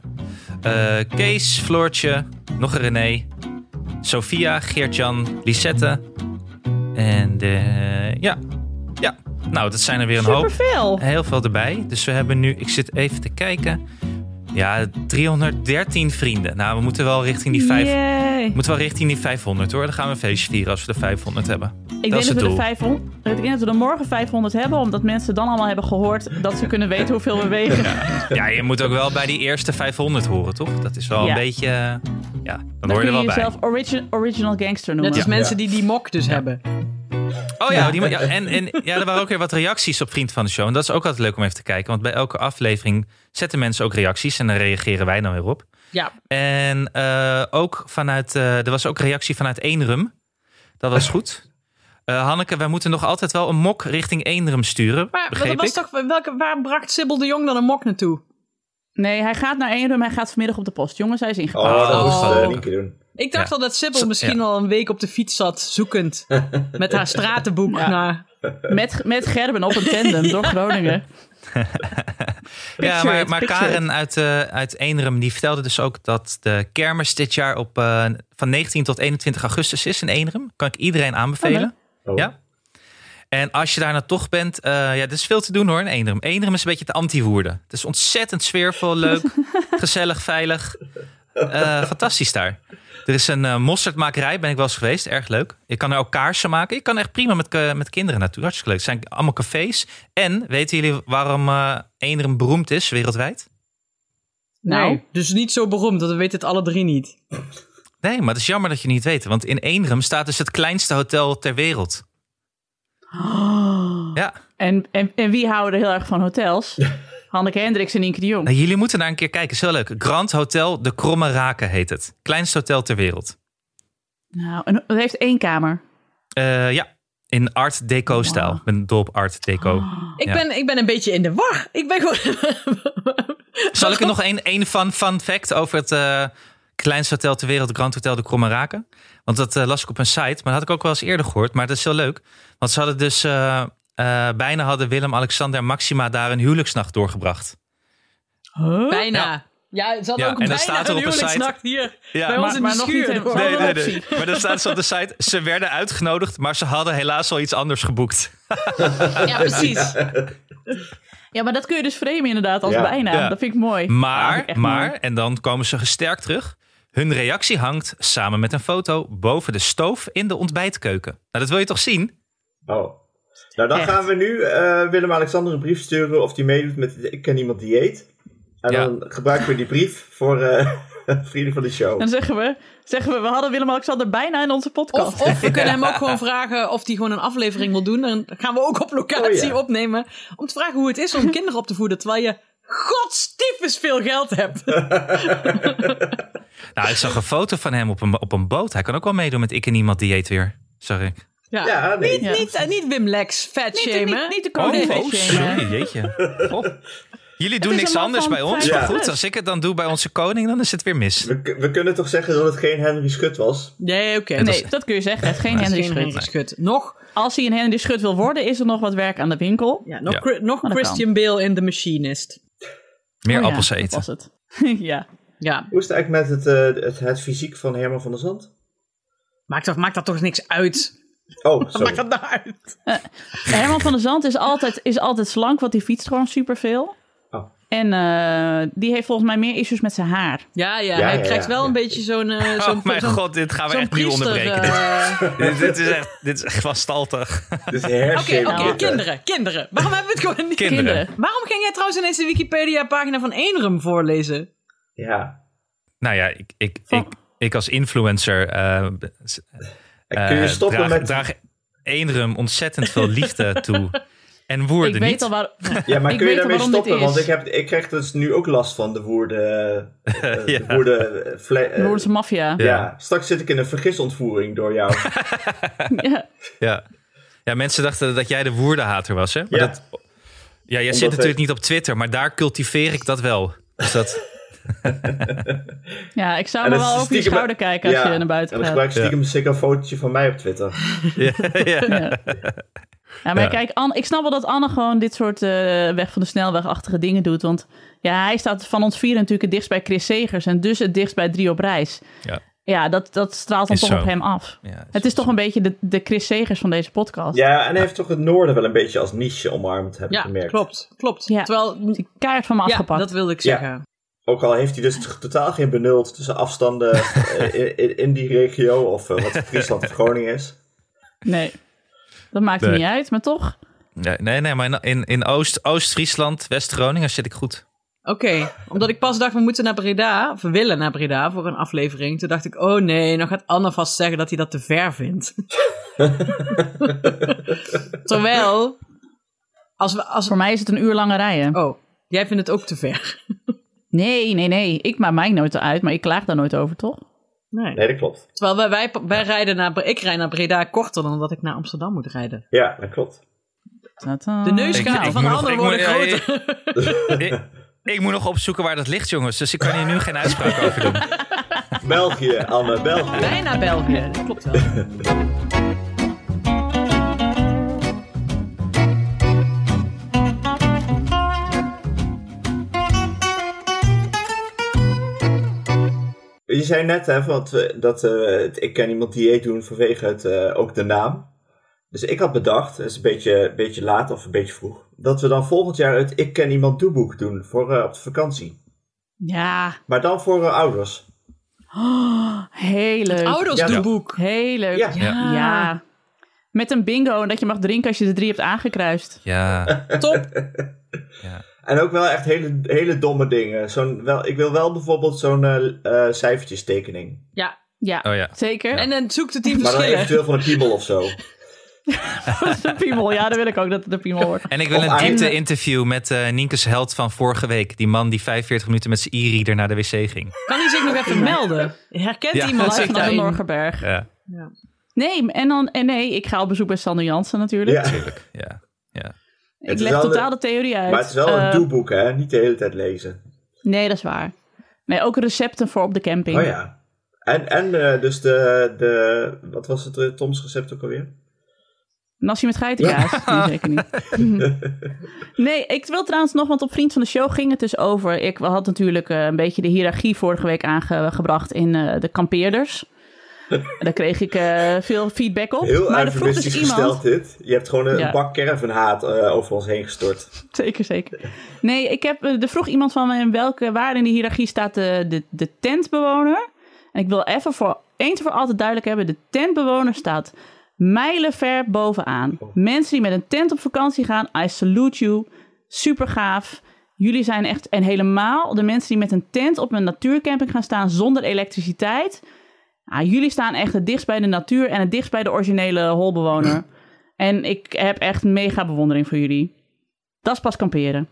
C: Eh, Kees, Floortje, nog een René, Sophia, Geert-Jan, Lisette. En eh, ja. ja, nou, dat zijn er weer een hoop.
A: Superveel.
C: Heel veel erbij. Dus we hebben nu, ik zit even te kijken. Ja, 313 vrienden. Nou, we moeten wel richting die, vijf,
A: Yay.
C: we moeten wel richting die 500 hoor. Dan gaan we een feestje vieren als we de 500 hebben.
A: Ik
C: dat
A: denk
C: is
A: dat,
C: het
A: we de
C: doel.
A: 500, ik denk dat we er morgen 500 hebben, omdat mensen dan allemaal hebben gehoord dat ze kunnen weten hoeveel we wegen.
C: Ja, je moet ook wel bij die eerste 500 horen, toch? Dat is wel
A: Ja.
C: een beetje. eh, Ja, dan,
A: Dan
C: hoor je
A: kun
C: er
A: je
C: wel bij.
A: jezelf origi- original gangster noemen.
B: Net als
A: Ja.
B: mensen die die mok dus hebben.
C: Oh ja, Die, ja, en, en ja, er waren ook weer wat reacties op Vriend van de Show. En dat is ook altijd leuk om even te kijken. Want bij elke aflevering zetten mensen ook reacties. En dan reageren wij dan weer op.
B: Ja,
C: En eh, ook vanuit, eh, er was ook reactie vanuit Eenrum. Dat was goed. Eh, Hanneke, wij moeten nog altijd wel een mok richting Eenrum sturen.
B: maar dat
C: begreep
B: was
C: ik?
B: toch, welke, waar bracht Sibyl de Jong dan een mok naartoe?
A: Nee, hij gaat naar één room, hij gaat vanmiddag op de post. Jongens, hij is ingegaan.
D: Oh,
C: Oh.
D: dat moest eh,
B: Oh.
D: Nienke doen.
B: Ik dacht
C: Ja.
B: al dat Sibyl
C: Zo-
B: misschien
C: ja.
B: al een week op de fiets zat, zoekend. Met haar stratenboek.
A: Ja.
B: Naar,
A: Met, met Gerben op een tandem door Groningen.
C: Ja,
A: Picture
C: maar,
A: it,
C: maar
A: picture it.
C: Karen uit, eh uit Eenrum die vertelde dus ook dat de kermis dit jaar op, eh, van 19 tot 21 augustus is in Eenrum. Kan ik iedereen aanbevelen.
D: Oh.
C: Ja? En als je daar nou toch bent, eh, ja, er is veel te doen hoor in Eenrum. Eenrum is een beetje de anti-woerden. Het is ontzettend sfeervol, leuk, gezellig, veilig. Eh, fantastisch daar. Er is een eh, mosterdmakerij, ben ik wel eens geweest. Erg leuk. Je kan er ook kaarsen maken. Je kan echt prima met, eh, met kinderen naartoe. Hartstikke leuk. Het zijn allemaal cafés. En weten jullie waarom eh Eenrum beroemd is wereldwijd?
A: Nou.
B: Nee, dus niet zo beroemd, want we weten het alle drie niet.
C: Nee, maar het is jammer dat je niet weet. Want in Eenrum staat dus het kleinste hotel ter wereld. Ja.
A: En, en, en wie houden er heel erg van hotels? Hanneke Hendricks en Nienke de Jong.
C: Nou, jullie moeten daar een keer kijken. Is heel leuk. Grand Hotel de Kromme Raken heet het. Kleinste hotel ter wereld.
A: Nou, en het heeft één kamer.
C: Eh, ja, in Art Deco-stijl. Met een dorp Art Deco.
B: Ik,
C: Ja.
B: ben, ik ben een beetje in de war. Ik ben gewoon...
C: Zal ik er nog één één fun, fun fact over het eh kleinste hotel ter wereld, Grand Hotel de Kromme Raken. Want dat eh, las ik op een site, maar dat had ik ook wel eens eerder gehoord. Maar dat is heel leuk. Want ze hadden dus, eh, eh, bijna hadden Willem, Alexander en Maxima daar een huwelijksnacht doorgebracht.
A: Huh?
B: Bijna. Ja, het zat
C: Ja,
B: ook
C: en dan
B: bijna
C: staat er
B: een
C: op een site-
B: huwelijksnacht hier.
C: Ja,
B: bij ons
A: maar-
B: in
A: maar
B: de
A: nog
B: schuur.
A: niet helemaal.
B: Nee,
C: Nee,
A: Wel
C: nee,
A: een
C: nee.
A: optie.
C: Maar dan staat ze op de site. Ze werden uitgenodigd, maar ze hadden helaas al iets anders geboekt.
B: Ja, precies.
A: Ja, maar dat kun je dus framen inderdaad als
D: Ja.
A: bijna.
C: Ja.
A: Dat vind ik mooi. Ja, dat vind ik
C: Maar,
A: echt
C: maar,
A: mooi.
C: en dan komen ze gesterkt terug. Hun reactie hangt samen met een foto boven de stoof in de ontbijtkeuken. Nou, dat wil je toch zien?
D: Oh. Nou, dan
A: Echt.
D: gaan we nu eh, Willem-Alexander een brief sturen of die meedoet met het Ik ken iemand dieet. En
C: Ja.
D: dan gebruiken we die brief voor eh, vrienden van de show.
A: Dan zeggen we, zeggen we, we hadden Willem-Alexander bijna in onze podcast.
B: Of, of we kunnen hem ook gewoon vragen of hij gewoon een aflevering wil doen. Dan gaan we ook op locatie
D: Oh ja.
B: opnemen. Om te vragen hoe het is om kinderen op te voeden terwijl je godstiefes veel geld hebt.
C: Nou, ik zag een foto van hem op een, op een boot. Hij kan ook wel meedoen met ik en iemand dieet weer. Zag ik.
B: Ja.
D: Ja, nee.
B: Niet,
A: Ja.
B: Niet, eh, niet Wim Lex, fat
A: niet,
B: shamen.
A: de- niet, niet de
C: Oh,
A: koning.
C: oh, sorry, jeetje. Goh. Jullie doen
A: is een
C: niks
A: man
C: anders
A: van Oh,
C: bij ons.
D: 50
C: Maar goed,
A: plus.
C: als ik het dan doe bij onze koning, dan is het weer mis.
D: We, k- we kunnen toch zeggen dat het geen Henry Schut was?
B: Nee, oké.
C: Het
A: Nee, dat kun je zeggen. Het is geen
B: Dat is
A: Henry
B: geen
A: Schut.
B: Henry Schut. Nog,
A: Als hij een Henry Schut wil worden, is er nog wat werk aan de winkel.
B: ja, nog,
C: Ja.
B: Chri- nog
A: Maar dat
B: Christian Bale in The Machinist.
C: Meer
A: Oh ja,
C: appels
A: dat
C: eten.
A: was het. ja.
B: Ja,
D: Hoe is het eigenlijk met het, eh, het, het fysiek van Herman van der Zand?
B: maakt dat, maakt dat toch niks uit?
D: Oh,
B: Maakt
D: sorry.
B: dat nou uit?
A: Herman van der Zand is altijd, is altijd slank, want die fietst gewoon superveel.
D: Oh.
A: En eh, die heeft volgens mij meer issues met zijn haar.
B: Ja, ja,
D: Ja,
B: hij
D: ja,
B: krijgt
D: ja,
B: wel
D: ja.
B: een beetje zo'n... eh,
C: Oh
B: zo'n-
C: mijn
B: zo'n-
C: god, dit gaan we
B: zo'n
C: echt nu
B: priester,
C: onderbreken. Dit-
B: eh,
C: Dit, dit is echt, dit is echt wanstaltig.
D: Dit is eh.
B: Oké,
D: hersenen.
B: oké,
A: Nou.
B: kinderen, kinderen. Waarom hebben we het gewoon niet?
C: Kinderen.
B: Waarom ging jij trouwens ineens de Wikipedia-pagina van Eenrum voorlezen?
D: Ja.
C: Nou ja, ik, ik,
A: Van-
C: ik, ik als influencer eh, s-
D: En kun je
C: eh,
D: stoppen
C: draag,
D: met...
C: draag Eenrum ontzettend veel liefde toe. En woerden
A: ik weet
C: niet.
A: al waar.
D: Ja, maar
A: Ik
D: kun
A: weet
D: je
A: al
D: daarmee
A: waarom dit
D: stoppen? Want
A: is.
D: ik, heb, ik krijg dus nu ook last van de woorden... eh, eh,
C: Ja.
D: de woorden... eh, vle- eh,
A: De Roerse maffia.
D: ja. straks zit ik in een vergisontvoering door jou.
A: Ja.
C: Ja. ja, mensen dachten dat jij de woerdenhater was, hè? Maar
D: Ja.
C: dat, ja, jij
D: Omdat
C: zit
D: we-
C: natuurlijk niet op Twitter, maar daar cultiveer ik dat wel. Dus dat,
A: ja, ik zou
D: En
A: me
D: dat
A: wel over
D: is
A: je
D: stiekem-
A: schouder kijken als
D: Ja,
A: je naar buiten
D: En dan
A: gaat.
D: gebruik ik stiekem zeker een fotootje van mij op Twitter.
C: ja, ja.
A: Ja. Ja, maar
C: Ja.
A: kijk, Anne, ik snap wel dat Anne gewoon dit soort eh, weg van de snelwegachtige dingen doet. Want ja, hij staat van ons vieren natuurlijk het dichtst bij Chris Segers en dus het dichtst bij Drie op Reis.
C: Ja.
A: Ja, dat, dat straalt dan
C: Is
A: toch
C: zo.
A: op hem af.
C: Ja,
A: Het is toch een beetje de, de Chris Segers van deze podcast.
D: Ja, en hij heeft toch het noorden wel een beetje als niche omarmd, heb
B: Ja,
D: ik gemerkt.
B: klopt, klopt.
A: Ja.
B: Terwijl,
A: Die keihard van me
B: ja,
A: afgepakt.
B: dat wilde ik
D: Ja.
B: zeggen.
D: Ook al heeft hij dus t- totaal geen benul tussen afstanden eh, i- in, in die regio of eh, wat Friesland of Groningen is.
A: Nee, dat maakt
C: Nee.
A: niet uit, maar toch.
C: Nee, nee, nee, maar in, in Oost- Oost-Friesland, West-Groningen zit ik goed.
B: Oké, omdat ik pas dacht we moeten naar Breda, of we willen naar Breda voor een aflevering. Toen dacht ik, oh nee, nou gaat Anne vast zeggen dat hij dat te ver vindt. Terwijl, als we... Als
A: Voor mij is het een uur lange rijden.
B: Oh, jij vindt het ook te ver.
A: Nee, nee, nee. Ik maak mij nooit uit, maar ik klaag daar nooit over, toch?
B: Nee.
D: Nee, dat klopt.
B: Terwijl wij, wij, wij rijden naar, Bre- ik rijd naar Breda korter dan dat ik naar Amsterdam moet rijden.
D: Ja, dat klopt.
A: Tadaa.
B: De neusgaten
C: Ik- ik
B: van de
C: moet-
B: anderen
C: ik moet-
B: worden
C: ja,
B: groter.
C: Ik, ik moet nog opzoeken waar dat ligt, jongens. Dus ik kan hier nu geen uitspraak over doen.
D: België, Anne, België.
B: Bijna België, dat klopt wel.
D: Je zei net hè, want, dat eh, het ik ken iemand dieet doen vanwege het, eh, ook de naam. Dus ik had bedacht, het is een beetje, beetje laat of een beetje vroeg, dat we dan volgend jaar het Ik ken iemand doeboek doen voor eh, op de vakantie.
A: Ja,
D: Maar dan voor eh, ouders.
A: heel leuk.
B: Ouders
D: Ja,
B: doen
D: ja.
B: boek.
A: Heel leuk.
D: Ja.
A: Ja. Met een bingo en dat je mag drinken als je de drie hebt aangekruist.
C: Ja,
B: Top.
C: ja.
D: En ook wel echt hele, hele domme dingen. Zo'n wel, ik wil wel bijvoorbeeld zo'n eh, eh, cijfertjes-tekening.
B: Ja.
A: Ja,
C: Oh ja.
A: zeker.
B: En dan zoek de tien
D: Maar dan
B: verschillen.
D: eventueel van een piemel of zo.
A: de piemel. Ja, dan wil ik ook dat het de piemel wordt.
C: En ik wil
D: Of
C: een
D: aan-
C: diepte-interview met eh Nienke's held van vorige week. Die man die 45 minuten met zijn e-reader naar de wc ging.
B: Kan hij zich nog even melden? Herkent
C: Ja.
B: iemand
A: Live
B: zich
A: vanuit de
B: daarin?
A: Norgerberg.
C: Ja,
A: Nee, en dan, en nee, ik ga op bezoek bij Sander Jansen natuurlijk.
D: Ja.
C: tuurlijk. Ja.
D: Het
A: Ik
D: is
A: leg
D: wel
A: totaal
D: een-
A: de theorie uit.
D: Maar het is wel een
A: Eh,
D: doeboek, hè? Niet de hele tijd lezen.
A: Nee, dat is waar. Nee, ook recepten voor op de camping.
D: Oh ja. En, en eh, dus de, de, wat was het, eh, Toms recept ook alweer?
A: Nassie met geitenkaas? Nee, zeker niet. nee, ik wil trouwens nog, want op Vriend van de Show ging het dus over... Ik had natuurlijk eh, een beetje de hiërarchie vorige week aangebracht in eh, de kampeerders. Daar kreeg ik eh, veel feedback op.
D: Heel
A: maar er vroeg dus
D: eufemistisch
A: iemand...
D: gesteld dit. Je hebt gewoon een
A: Ja.
D: bak caravanhaat eh, over ons heen gestort.
A: Zeker, zeker. Nee, ik heb, eh, er vroeg iemand van in welke, waar in de hiërarchie staat de, de, de tentbewoner. En ik wil even voor eens en voor altijd duidelijk hebben: de tentbewoner staat mijlenver bovenaan. Mensen die met een tent op vakantie gaan, I salute you. Super gaaf. Jullie zijn echt, en helemaal de mensen die met een tent op een natuurcamping gaan staan zonder elektriciteit. Ah, jullie staan echt het dichtst bij de natuur en het dichtst bij de originele holbewoner. En ik heb echt mega bewondering voor jullie. Dat is pas kamperen.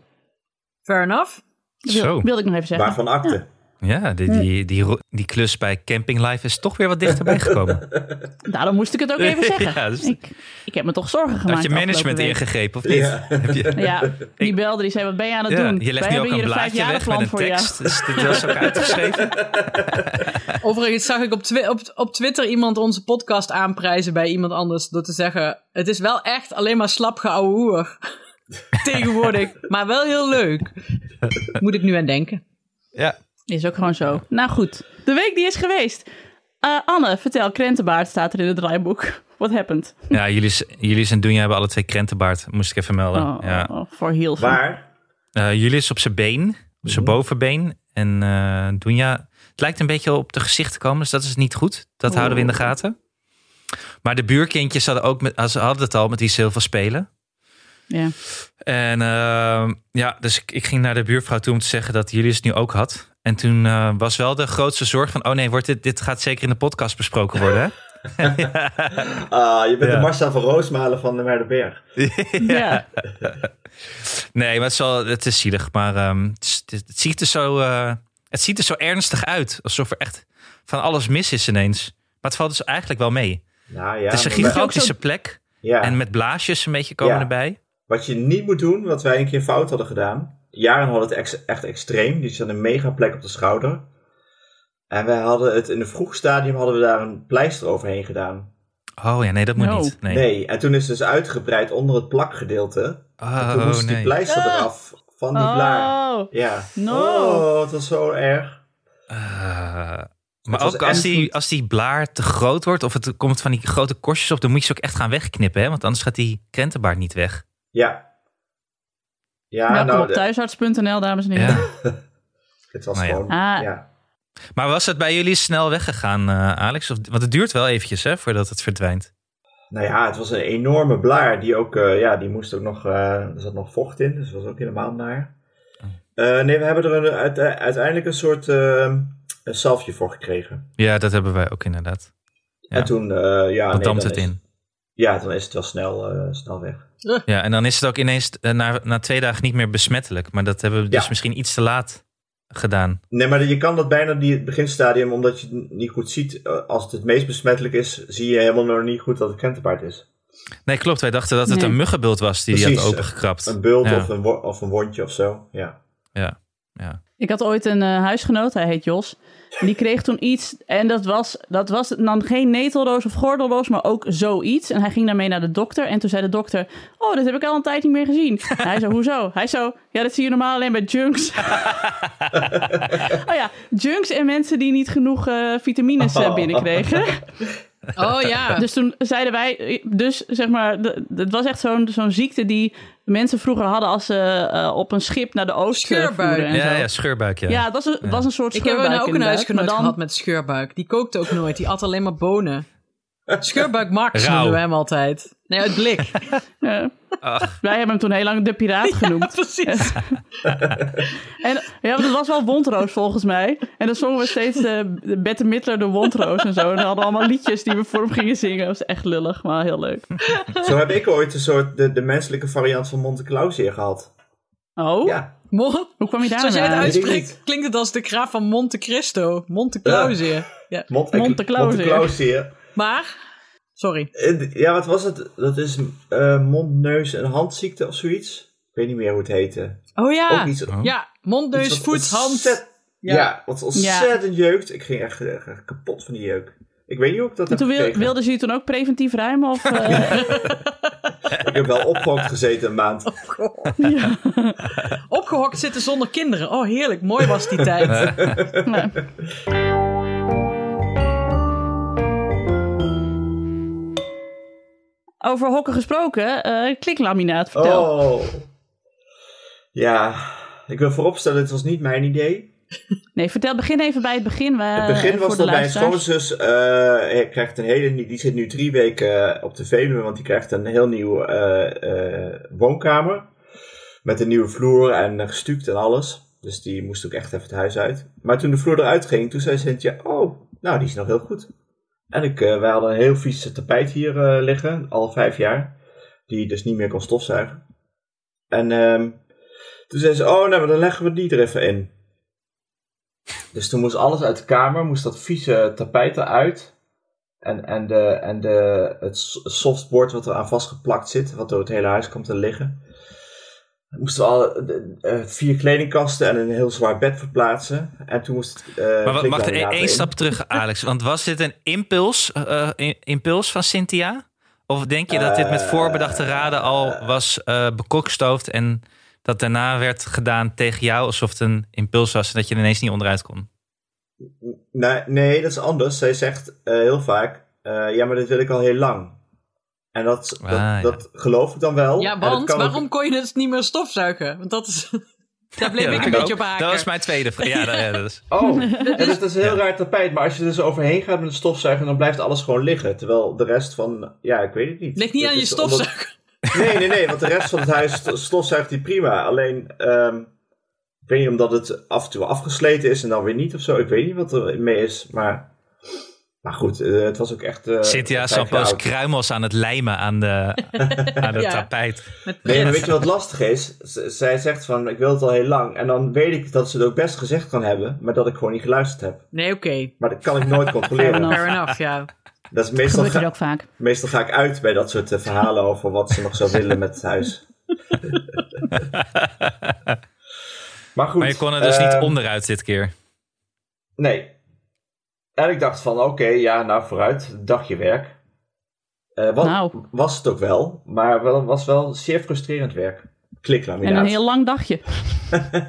B: Fair enough.
A: Dat wil-
C: Zo.
A: wilde ik nog even zeggen.
D: Waarvan akte?
C: Ja, die, die, die, ro- die klus bij Camping Life is toch weer wat dichterbij gekomen.
A: Daarom moest ik het ook even zeggen.
C: Ja, dus-
A: ik, ik heb me toch zorgen gemaakt.
C: Had je
A: de afgelopen
C: management
A: week.
C: ingegrepen of niet?
D: Ja.
C: Heb je,
A: Ja, die belde, die zei, wat ben je aan het
C: ja,
A: doen?
C: je legt
A: Wij
C: nu ook
A: hebben
C: een
A: hier een
C: blaadje
A: vijfjarig
C: weg met
A: plan
C: een
A: voor jou.
C: tekst. Dus dit was ook uitgeschreven.
B: Overigens zag ik op, twi- op, op Twitter iemand onze podcast aanprijzen bij iemand anders door te zeggen: Het is wel echt alleen maar slap geouwehoer. Tegenwoordig, maar wel heel leuk. Moet ik nu aan denken.
C: Ja.
A: Is ook gewoon zo. Nou goed, de week die is geweest. Eh, Anne, vertel, krentenbaard staat er in het draaiboek. What happened?
C: Ja, jullie, jullie en Dunja hebben alle twee krentenbaard, moest ik even melden.
A: Oh,
C: ja.
A: oh, voor heel veel.
D: Maar,
C: Eh, jullie is op zijn been, op zijn bovenbeen. En eh Dunja, het lijkt een beetje op de gezicht te komen, dus dat is niet goed. Dat houden we in de gaten. Maar de buurkindjes hadden, ook met, ze hadden het al met wie ze heel veel spelen.
A: Ja.
C: En eh, ja, dus ik, ik ging naar de buurvrouw toe om te zeggen dat jullie het nu ook had. En toen eh, was wel de grootste zorg van, oh nee, wordt dit, dit gaat zeker in de podcast besproken worden. Hè?
D: ah, je bent
C: Ja.
D: de Marcel van Roosmalen van de Merdenberg.
A: Ja.
C: Nee, maar het is, wel- het is zielig. Maar ehm, het, is- het ziet er zo, eh, het ziet er zo ernstig uit. Alsof er echt van alles mis is ineens. Maar het valt dus eigenlijk wel mee.
D: Nou ja,
C: het is een
D: maar-
C: gigantische plek.
D: ja.
C: En met blaasjes een beetje komen
D: Ja.
C: erbij.
D: Wat je niet moet doen, wat wij een keer fout hadden gedaan. Jaren hadden het ex- echt extreem. Die zat een mega plek op de schouder. En wij hadden het in een vroeg stadium hadden we daar een pleister overheen gedaan.
C: Oh ja, nee, dat moet
A: No.
C: niet. Nee.
D: Nee. en toen is het dus uitgebreid onder het plakgedeelte. En toen
C: Oh
D: moest die
C: nee.
D: pleister
A: Ah.
D: eraf van die blaar.
A: Oh.
D: Ja.
A: No.
D: Oh, het was zo erg.
C: Eh,
D: Het
C: maar
D: was
C: ook als
D: echt
C: die,
D: goed.
C: als die blaar te groot wordt of het komt van die grote korstjes op, dan moet je ze ook echt gaan wegknippen. Hè? Want anders gaat die krentenbaard niet weg.
D: Ja. Ja,
A: Welkom
D: nou,
A: op thuisarts.nl, dames en heren.
C: Ja.
D: het was
C: Nou ja.
D: gewoon...
A: Ah.
D: Ja.
C: Maar was het bij jullie snel weggegaan, eh, Alex? Of, want het duurt wel eventjes hè, voordat het verdwijnt.
D: Nou ja, het was een enorme blaar. Die ook, eh, ja, die moest ook nog, eh, er zat nog vocht in, dus dat was ook helemaal naar.
C: Oh.
D: Eh, nee, we hebben er een, uite- uiteindelijk een soort eh, een salfje voor gekregen.
C: Ja, dat hebben wij ook inderdaad. Ja.
D: En toen, eh ja,
C: Dan dampt
D: nee, dan
C: het
D: is-
C: in.
D: Ja, dan is het wel snel, eh, snel weg.
C: Ja, en dan is het ook ineens eh, na, na twee dagen niet meer besmettelijk. Maar dat hebben we dus
D: Ja.
C: misschien iets te laat gedaan.
D: Nee, maar je kan dat bijna die het beginstadium, omdat je het n- niet goed ziet. eh, als het het meest besmettelijk is, zie je helemaal nog niet goed dat het krentenpaard is.
C: Nee, klopt. Wij dachten dat het
A: Nee.
C: een muggenbult was die die had
D: Precies,
C: opengekrapt.
D: Een bult
C: Ja.
D: of, een wo- of een wondje of zo. Ja.
A: Ik had ooit een eh, huisgenoot, hij heet Jos. En die kreeg toen iets, en dat was, dat was dan geen netelroos of gordelroos, maar ook zoiets. En hij ging daarmee naar de dokter. En toen zei de dokter: Oh, dat heb ik al een tijd niet meer gezien. En hij zo: Hoezo? Hij zo: Ja, dat zie je normaal alleen bij junks. oh ja, junks en mensen die niet genoeg eh, vitamines eh,
D: Oh.
A: binnenkregen.
B: Oh ja.
A: Dus toen zeiden wij, dus zeg maar, d- het was echt zo'n zo'n ziekte die mensen vroeger hadden als ze eh, op een schip naar de oost eh,
B: Scheurbuik.
A: voeren en zo.
C: Ja, ja, scheurbuik. Ja.
A: Ja, het was een, het was een soort
B: ik heb
A: scheurbuik
B: nou ook een
A: inderdaad,
B: huisgenoot
A: maar dan-
B: gehad met scheurbuik. Die kookte ook nooit. Die at alleen maar bonen. Scheurbuik Max
C: Rauw.
B: noemen we hem altijd. Nee, uit blik.
A: Ja.
C: Ach.
A: Wij hebben hem toen heel lang de piraat genoemd.
B: Precies.
A: En ja, maar dat was wel wondroos volgens mij. En dan zongen we steeds eh, de Bette Midler de wondroos en zo. En dan hadden we allemaal liedjes die we voor hem gingen zingen. Dat was echt lullig, maar heel leuk.
D: Zo heb ik ooit een soort de, de menselijke variant van Monte Claus hier gehad.
A: Oh,
D: Ja.
B: Mo-
A: hoe kwam je daar
B: Zoals jij
A: nou
B: het
A: aan?
D: uit- Weet ik
B: uitspreekt, klinkt het als de graaf van Monte Cristo. Monte Clausië. Ja.
D: Monte,
A: Monte Claus
D: Monte
A: hier.
D: Claus hier.
B: Maar, sorry.
D: Eh, Ja, wat was het? Dat is eh, mond, neus en handziekte of zoiets. Ik weet niet meer hoe het heette.
B: Oh ja.
A: Ah,
D: Ook iets,
C: Oh.
B: Ja, mond, neus,
D: iets wat
B: voet, hand.
D: ontzettend Ja, wat ontzettend jeukt. Ik ging echt, eh, echt kapot van die jeuk. Ik weet niet hoe ik dat
A: En
D: heb
A: toen wil-
D: gekregen.
A: wilden ze je toen ook preventief ruimen? Of, eh,
D: Ik heb wel opgehokt gezeten een maand.
B: Opgehokt.
A: ja.
B: Opgehokt zitten zonder kinderen. Oh, heerlijk. Mooi was die tijd.
A: Nou, Over hokken gesproken, eh, kliklaminaat, vertel.
D: Oh. Ja, ik wil vooropstellen, het was niet mijn idee.
A: Nee, vertel, begin even bij het begin. eh,
D: Het begin
A: voor
D: was
A: de
D: dat mijn
A: luisteraars.
D: schoonzus eh, hij krijgt een hele nie- Die zit nu drie weken eh, op de Veluwe, want die krijgt een heel nieuwe eh, eh, woonkamer. Met een nieuwe vloer en eh, gestuukt en alles. Dus die moest ook echt even het huis uit. Maar toen de vloer eruit ging, toen zei Cynthia, oh, nou die is nog heel goed. En ik, eh, wij hadden een heel vies tapijt hier eh, liggen, al vijf jaar. Die dus niet meer kon stofzuigen. En ehm, toen zei ze, oh, nou, maar dan leggen we die er even in. Dus toen moest alles uit de kamer, moest dat vieze tapijt eruit. En, en, de, en de, het s- softboard wat eraan vastgeplakt zit, wat door het hele huis komt te liggen. We moesten al eh, vier kledingkasten en een heel zwaar bed verplaatsen. En toen moest het. eh,
C: Maar wat, mag er
D: kliklaminaat
C: één één
D: in.
C: stap terug, Alex? Want was dit een impuls, eh, eh, impuls van Cynthia? Of denk je dat dit met
D: Eh,
C: voorbedachte raden al was eh bekokstoofd en dat daarna werd gedaan tegen jou alsof het een impuls was en dat je er ineens niet onderuit kon?
D: Nee, nee, dat is anders. Zij zegt eh, heel vaak: eh, Ja, maar dit wil ik al heel lang. En dat,
C: Ah,
D: dat,
C: ja.
D: dat geloof ik dan wel.
B: Ja,
D: En dat
B: want
D: kan ook-
B: waarom kon je dus niet meer stofzuigen? Want dat is... Daar bleef
C: Ja,
B: ik
C: dat
B: een
C: kan
B: beetje op
C: ook.
B: haken.
C: Dat was mijn tweede vraag. Ja, dat, ja, dat is.
D: Oh, ja, dat is een heel raar tapijt. Maar als je er dus overheen gaat met een stofzuiger, dan blijft alles gewoon liggen. Terwijl de rest van. Ja, ik weet het niet.
B: Ligt niet
D: Dat
B: aan je
D: is omdat-
B: stofzuiger.
D: Nee, nee, nee, want de rest van het huis st- stofzuigt die prima. Alleen, ehm, ik weet niet omdat het af en toe afgesleten is en dan weer niet of zo. Ik weet niet wat er mee is, maar. Maar goed, eh, het was ook echt. eh,
C: Cynthia is
D: vijf
C: al
D: jaar
C: pas
D: oud.
C: kruimels aan het lijmen aan de, aan het
B: Ja.
C: tapijt.
B: Met
D: Nee, maar
B: pret.
D: weet je wat lastig is? Z- zij zegt van, ik wil het al heel lang. En dan weet ik dat ze het ook best gezegd kan hebben, maar dat ik gewoon niet geluisterd heb.
B: Nee, oké.
D: Maar dat kan ik nooit
A: Fair
D: controleren.
A: enough.
B: Fair enough, ja.
D: Dat is
A: Dat
D: meestal,
A: gebeurt
D: ga,
A: hier ook vaak.
D: meestal ga ik uit bij dat soort eh, verhalen over wat ze nog zou willen met het huis. maar goed.
C: Maar je kon er dus niet
D: ehm,
C: onderuit dit keer.
D: Nee. En ik dacht van, oké, ja, nou vooruit, dagje werk. Eh, wat,
A: Nou.
D: Was het ook wel, maar wel, was wel zeer frustrerend werk. Kliklaminaat.
A: En een heel lang dagje.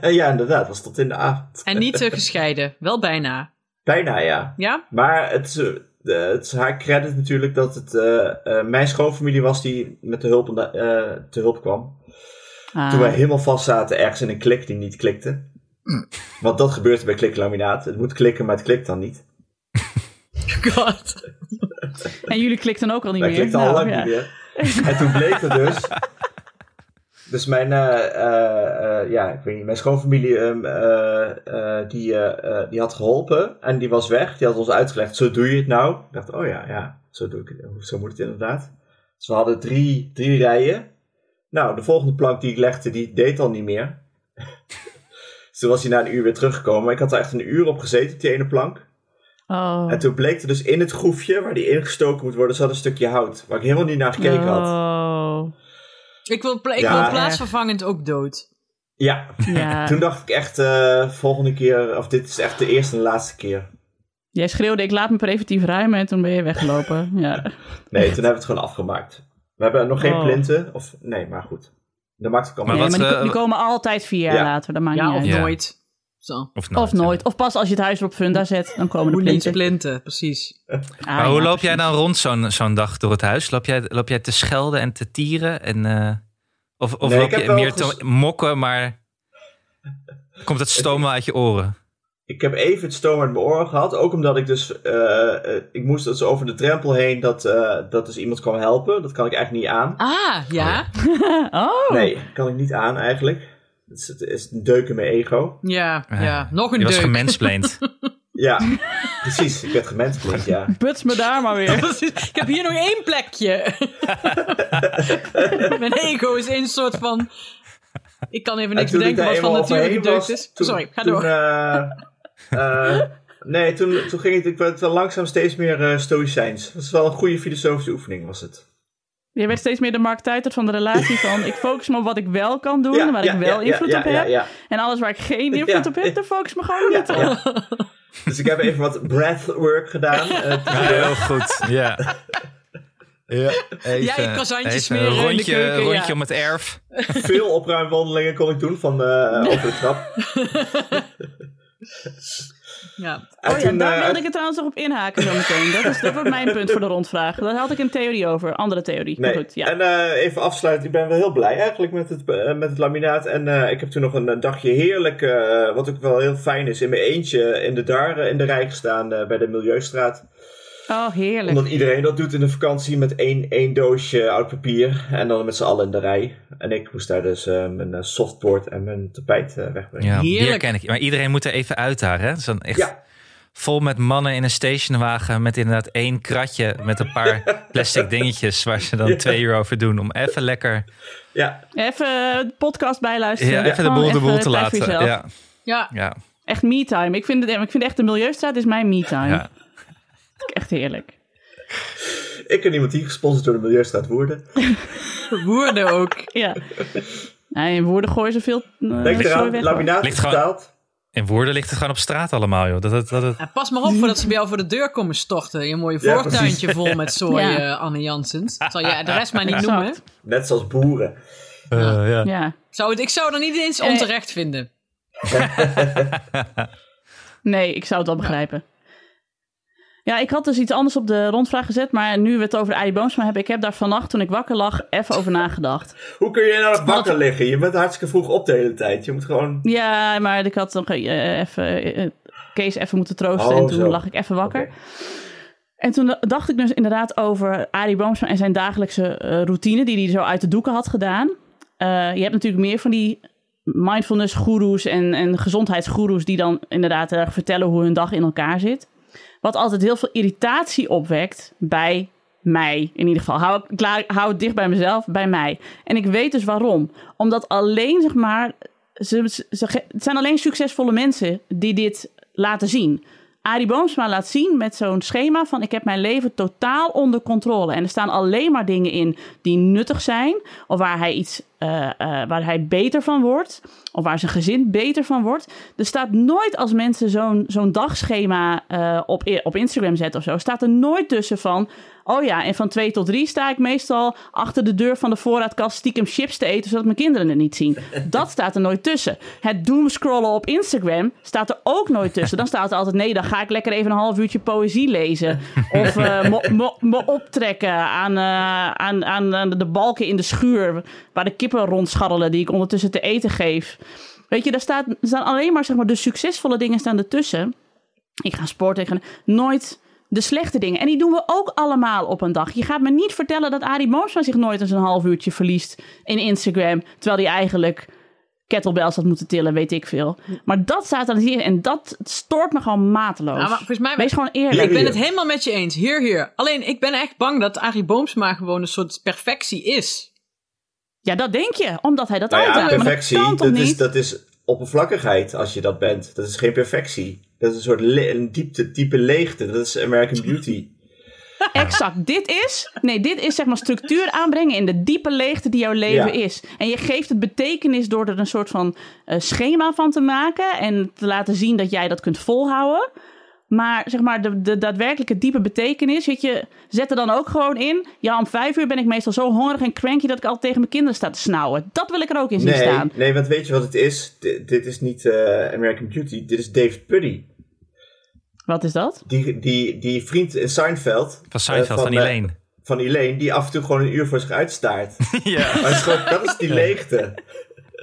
D: ja, inderdaad, was tot in de avond.
B: En niet eh, gescheiden. Wel bijna.
D: Bijna, ja.
B: Ja?
D: Maar het is, eh, eh, het is haar credit natuurlijk dat het eh, eh, mijn schoonfamilie was die met de hulp, eh, te hulp kwam.
A: Ah,
D: Toen wij helemaal vast zaten ergens in een klik die niet klikte. Want dat gebeurt bij kliklaminaat. Het moet klikken, maar het klikt dan niet.
B: God.
A: Ah. En jullie klikten ook al niet
D: Hij
A: meer.
D: klikt al
A: Nou,
D: lang
A: ja.
D: niet meer. En toen bleek het dus. Dus mijn, eh, eh, eh, ja, ik weet niet, mijn schoonfamilie ehm, eh, eh, die, eh, eh, die had geholpen en die was weg. Die had ons uitgelegd, zo doe je het nou. Ik dacht, oh ja, ja, zo, doe ik, het. zo moet het inderdaad. Dus we hadden drie, drie rijen. Nou, de volgende plank die ik legde, die deed al niet meer. dus toen was hij na een uur weer teruggekomen. Ik had er echt een uur op gezeten, op die ene plank.
A: Oh.
D: En toen bleek er dus in het groefje waar die ingestoken moet worden, zat een stukje hout. Waar ik helemaal niet naar gekeken had.
A: Oh.
B: Ik wil, pla- ik
D: Ja.
B: wil plaatsvervangend ook dood.
D: Ja,
A: Ja.
D: toen dacht ik echt, eh, volgende keer, of dit is echt de eerste en laatste keer.
A: Jij schreeuwde, ik laat me preventief ruimen en toen ben je weggelopen. Ja.
D: Nee, toen hebben we het gewoon afgemaakt. We hebben nog geen
A: Oh.
D: plinten, of nee, maar goed. Dat maakt het allemaal
A: Nee,
C: wat,
A: maar die,
C: eh,
A: die komen altijd vier jaar
D: Ja.
A: later, dat maakt
B: Ja,
A: niet
B: of
A: uit.
C: Ja.
B: nooit. Zo.
C: Of nooit.
A: Of nooit. Of pas als je het huis erop funda zet, dan komen de
B: Hoe niet
A: plinten.
B: splinten, precies.
A: Ah,
C: Maar hoe
A: ja,
C: loop jij
A: precies.
C: dan rond zo'n zo'n dag door het huis? Loop jij, loop jij te schelden en te tieren? En, eh, of of
D: Nee, ik
C: loop
D: heb
C: je
D: wel
C: meer
D: ges-
C: te mokken, maar komt het stoom wel uit je oren?
D: Ik heb even het stoom uit mijn oren gehad. Ook omdat ik dus. eh, eh, ik moest dus over de drempel heen dat, eh, dat dus iemand kwam helpen. Dat kan ik eigenlijk niet aan.
B: Ah, ja?
A: Oh,
D: Nee, kan ik niet aan eigenlijk. Het is, het is een deuk in mijn ego.
B: Ja, ja.
C: Ja.
B: Nog een
C: je was
B: deuk.
C: gemensplained.
D: Ja, precies. Ik werd gemensplind, ja.
A: buts me daar maar weer.
B: Precies. Ik heb hier nog één plekje. Mijn ego is een soort van... Ik kan even niks
D: En toen ik
B: bedenken
D: daar
B: wat van
D: eenmaal
B: nature
D: overheen
B: gedeukt
D: was,
B: is.
D: toen-
B: Sorry, ga
D: toen,
B: door.
D: eh, eh, nee, toen, toen ging het, ik werd wel langzaam steeds meer eh stoïcijns. Dat is wel een goede filosofische oefening, was het.
A: Je werd steeds meer de Mark Tuitert van de relatie van... ik focus me op wat ik wel kan doen, waar ik wel invloed op heb. En alles waar ik geen invloed
D: Ja.
A: op heb, daar focus me gewoon niet op.
D: Dus ik heb even wat breathwork gedaan. eh,
E: heel goed. Ja. Ja, even,
B: Ja, ik kazantjes
C: Even
B: smeren
C: een
B: in de
C: rondje,
B: keuken,
C: rondje
B: ja.
C: om het erf.
D: veel opruimwandelingen kon ik doen van eh over de trap.
B: Ja.
D: En
A: Oh ja,
D: toen,
A: daar
D: eh,
A: wilde ik het trouwens nog op inhaken zo meteen. Dat, is, dat wordt mijn punt voor de rondvraag. Daar had ik een theorie over, andere theorie. Maar
D: Nee.
A: Goed, ja.
D: En eh, even afsluiten, ik ben wel heel blij eigenlijk met het, eh, met het laminaat. En eh, ik heb toen nog een, eh, dagje heerlijk, eh, wat ook wel heel fijn is, in mijn eentje in de Dar eh, in de rij gestaan eh, bij de Milieustraat.
A: Oh, heerlijk.
D: Omdat iedereen dat doet in de vakantie met één, één doosje oud papier en dan met z'n allen in de rij. En ik moest daar dus eh, mijn eh, softboard en mijn tapijt eh, wegbrengen.
C: Ja,
B: Heerlijk.
C: hier ken ik. Maar iedereen moet er even uit daar. Hè? Het is dan echt
D: Ja.
C: vol met mannen in een stationwagen met inderdaad één kratje met een paar plastic dingetjes waar ze dan
D: Ja.
C: twee uur over doen om even lekker
D: Ja,
A: Even eh, de podcast bijluisteren.
C: ja, even de
A: Gewoon
C: boel de boel
A: even
C: te
A: tijd voor
C: laten.
A: jezelf.
C: Ja,
B: ja,
C: ja,
A: Echt me-time. Ik vind, het, ik vind echt de Milieustraat is mijn me-time.
C: ja.
A: Echt heerlijk.
D: ik en iemand die gesponsord door de Milieustraat Woerden.
A: Oh,
B: woorden ook.
A: Ja. Nee, in woorden gooien ze veel eh,
D: Denk
A: zooi
D: eraan, nou
A: weg.
D: laminaat
C: Ligt
D: is
C: gewoon-
D: betaald.
C: In woorden ligt het gewoon op straat allemaal, joh. Dat, dat, dat, dat-
B: Ja, pas maar op voordat ze bij jou voor de deur komen storten. Je mooie
D: Ja,
B: voortuintje vol met zooi,
A: Ja.
B: eh, Anne Janssens. Zal je de rest maar niet
A: Exact.
B: noemen.
D: Net zoals boeren.
C: eh, ja.
A: Ja.
B: Zou het, ik zou dat niet eens
A: Eh.
B: onterecht vinden.
A: Nee, ik zou het wel begrijpen. Ja, ik had dus iets anders op de rondvraag gezet, maar nu we het over Arie Boomsma hebben, ik heb daar vannacht toen ik wakker lag even over nagedacht.
D: Hoe kun je nou nog wakker liggen? Je bent hartstikke vroeg op de hele tijd. Je moet gewoon...
A: Ja, maar ik had nog eh, even eh, Kees even moeten troosten
D: Oh,
A: en toen
D: zo.
A: lag ik even wakker.
D: Oké.
A: En toen dacht ik dus inderdaad over Arie Boomsma en zijn dagelijkse eh, routine die hij zo uit de doeken had gedaan. Eh, je hebt natuurlijk meer van die mindfulness goeroes en, en gezondheidsgoeroes die dan inderdaad heel erg vertellen hoe hun dag in elkaar zit. Wat altijd heel veel irritatie opwekt bij mij in ieder geval. Hou, ik la- hou het dicht bij mezelf, bij mij. En ik weet dus waarom. Omdat alleen, zeg maar, ze, ze- ze ge- het zijn alleen succesvolle mensen die dit laten zien. Arie Boomsma laat zien met zo'n schema van ik heb mijn leven totaal onder controle. En er staan alleen maar dingen in die nuttig zijn. Of waar hij iets eh, eh, waar hij beter van wordt. Of waar zijn gezin beter van wordt. Er staat nooit als mensen zo'n zo'n dagschema eh, op, i- op Instagram zetten of zo. Staat er nooit tussen van. Oh ja, en van twee tot drie sta ik meestal achter de deur van de voorraadkast stiekem chips te eten, zodat mijn kinderen het niet zien. Dat staat er nooit tussen. Het doomscrollen op Instagram staat er ook nooit tussen. Dan staat er altijd, nee, dan ga ik lekker even een half uurtje poëzie lezen. Of eh, me- me- me optrekken aan, eh, aan, aan, aan de balken in de schuur, waar de kippen rondscharrelen die ik ondertussen te eten geef. Weet je, daar staat, er staan alleen maar, zeg maar de succesvolle dingen staan ertussen. Ik ga sporten, ik ga nooit de slechte dingen. En die doen we ook allemaal op een dag. Je gaat me niet vertellen dat Arie Boomsma zich nooit eens een half uurtje verliest in Instagram. Terwijl hij eigenlijk kettlebells had moeten tillen, weet ik veel. Maar dat staat dan hier en dat stoort me gewoon mateloos.
B: Ja, Nou, maar volgens mij-
A: Wees gewoon
B: Ik
A: eerlijk.
B: ben het helemaal met je eens. Hier, hier. Alleen ik ben echt bang dat Arie Boomsma gewoon een soort perfectie is.
A: Ja, dat denk je, omdat hij dat
D: Nou ja,
A: altijd doet.
D: perfectie,
A: maar dat kan
D: dat,
A: toch
D: is,
A: niet?
D: dat is oppervlakkigheid als je dat bent. Dat is geen perfectie. Dat is een soort le- een diepte, diepe leegte. Dat is
A: Hm.
D: American Beauty.
A: Exact. Dit is, nee, dit is zeg maar structuur aanbrengen in de diepe leegte die jouw leven
D: Ja.
A: is. En je geeft het betekenis door er een soort van eh, schema van te maken en te laten zien dat jij dat kunt volhouden. Maar zeg maar, de, de daadwerkelijke diepe betekenis, weet je, zet er dan ook gewoon in. Ja, om vijf uur ben ik meestal zo hongerig en cranky dat ik al tegen mijn kinderen sta te snauwen. Dat wil ik er ook in zien
D: Nee,
A: staan.
D: nee, want weet je wat het is? D- dit is niet eh, American Beauty, dit is Dave Puddy.
A: Wat is dat?
D: Die, die, die vriend in Seinfeld.
C: Van Seinfeld,
D: eh,
C: van,
D: eh,
C: Elaine.
D: van Elaine, die af en toe gewoon een uur voor zich uitstaart.
C: ja.
D: maar het is gewoon- dat is die leegte.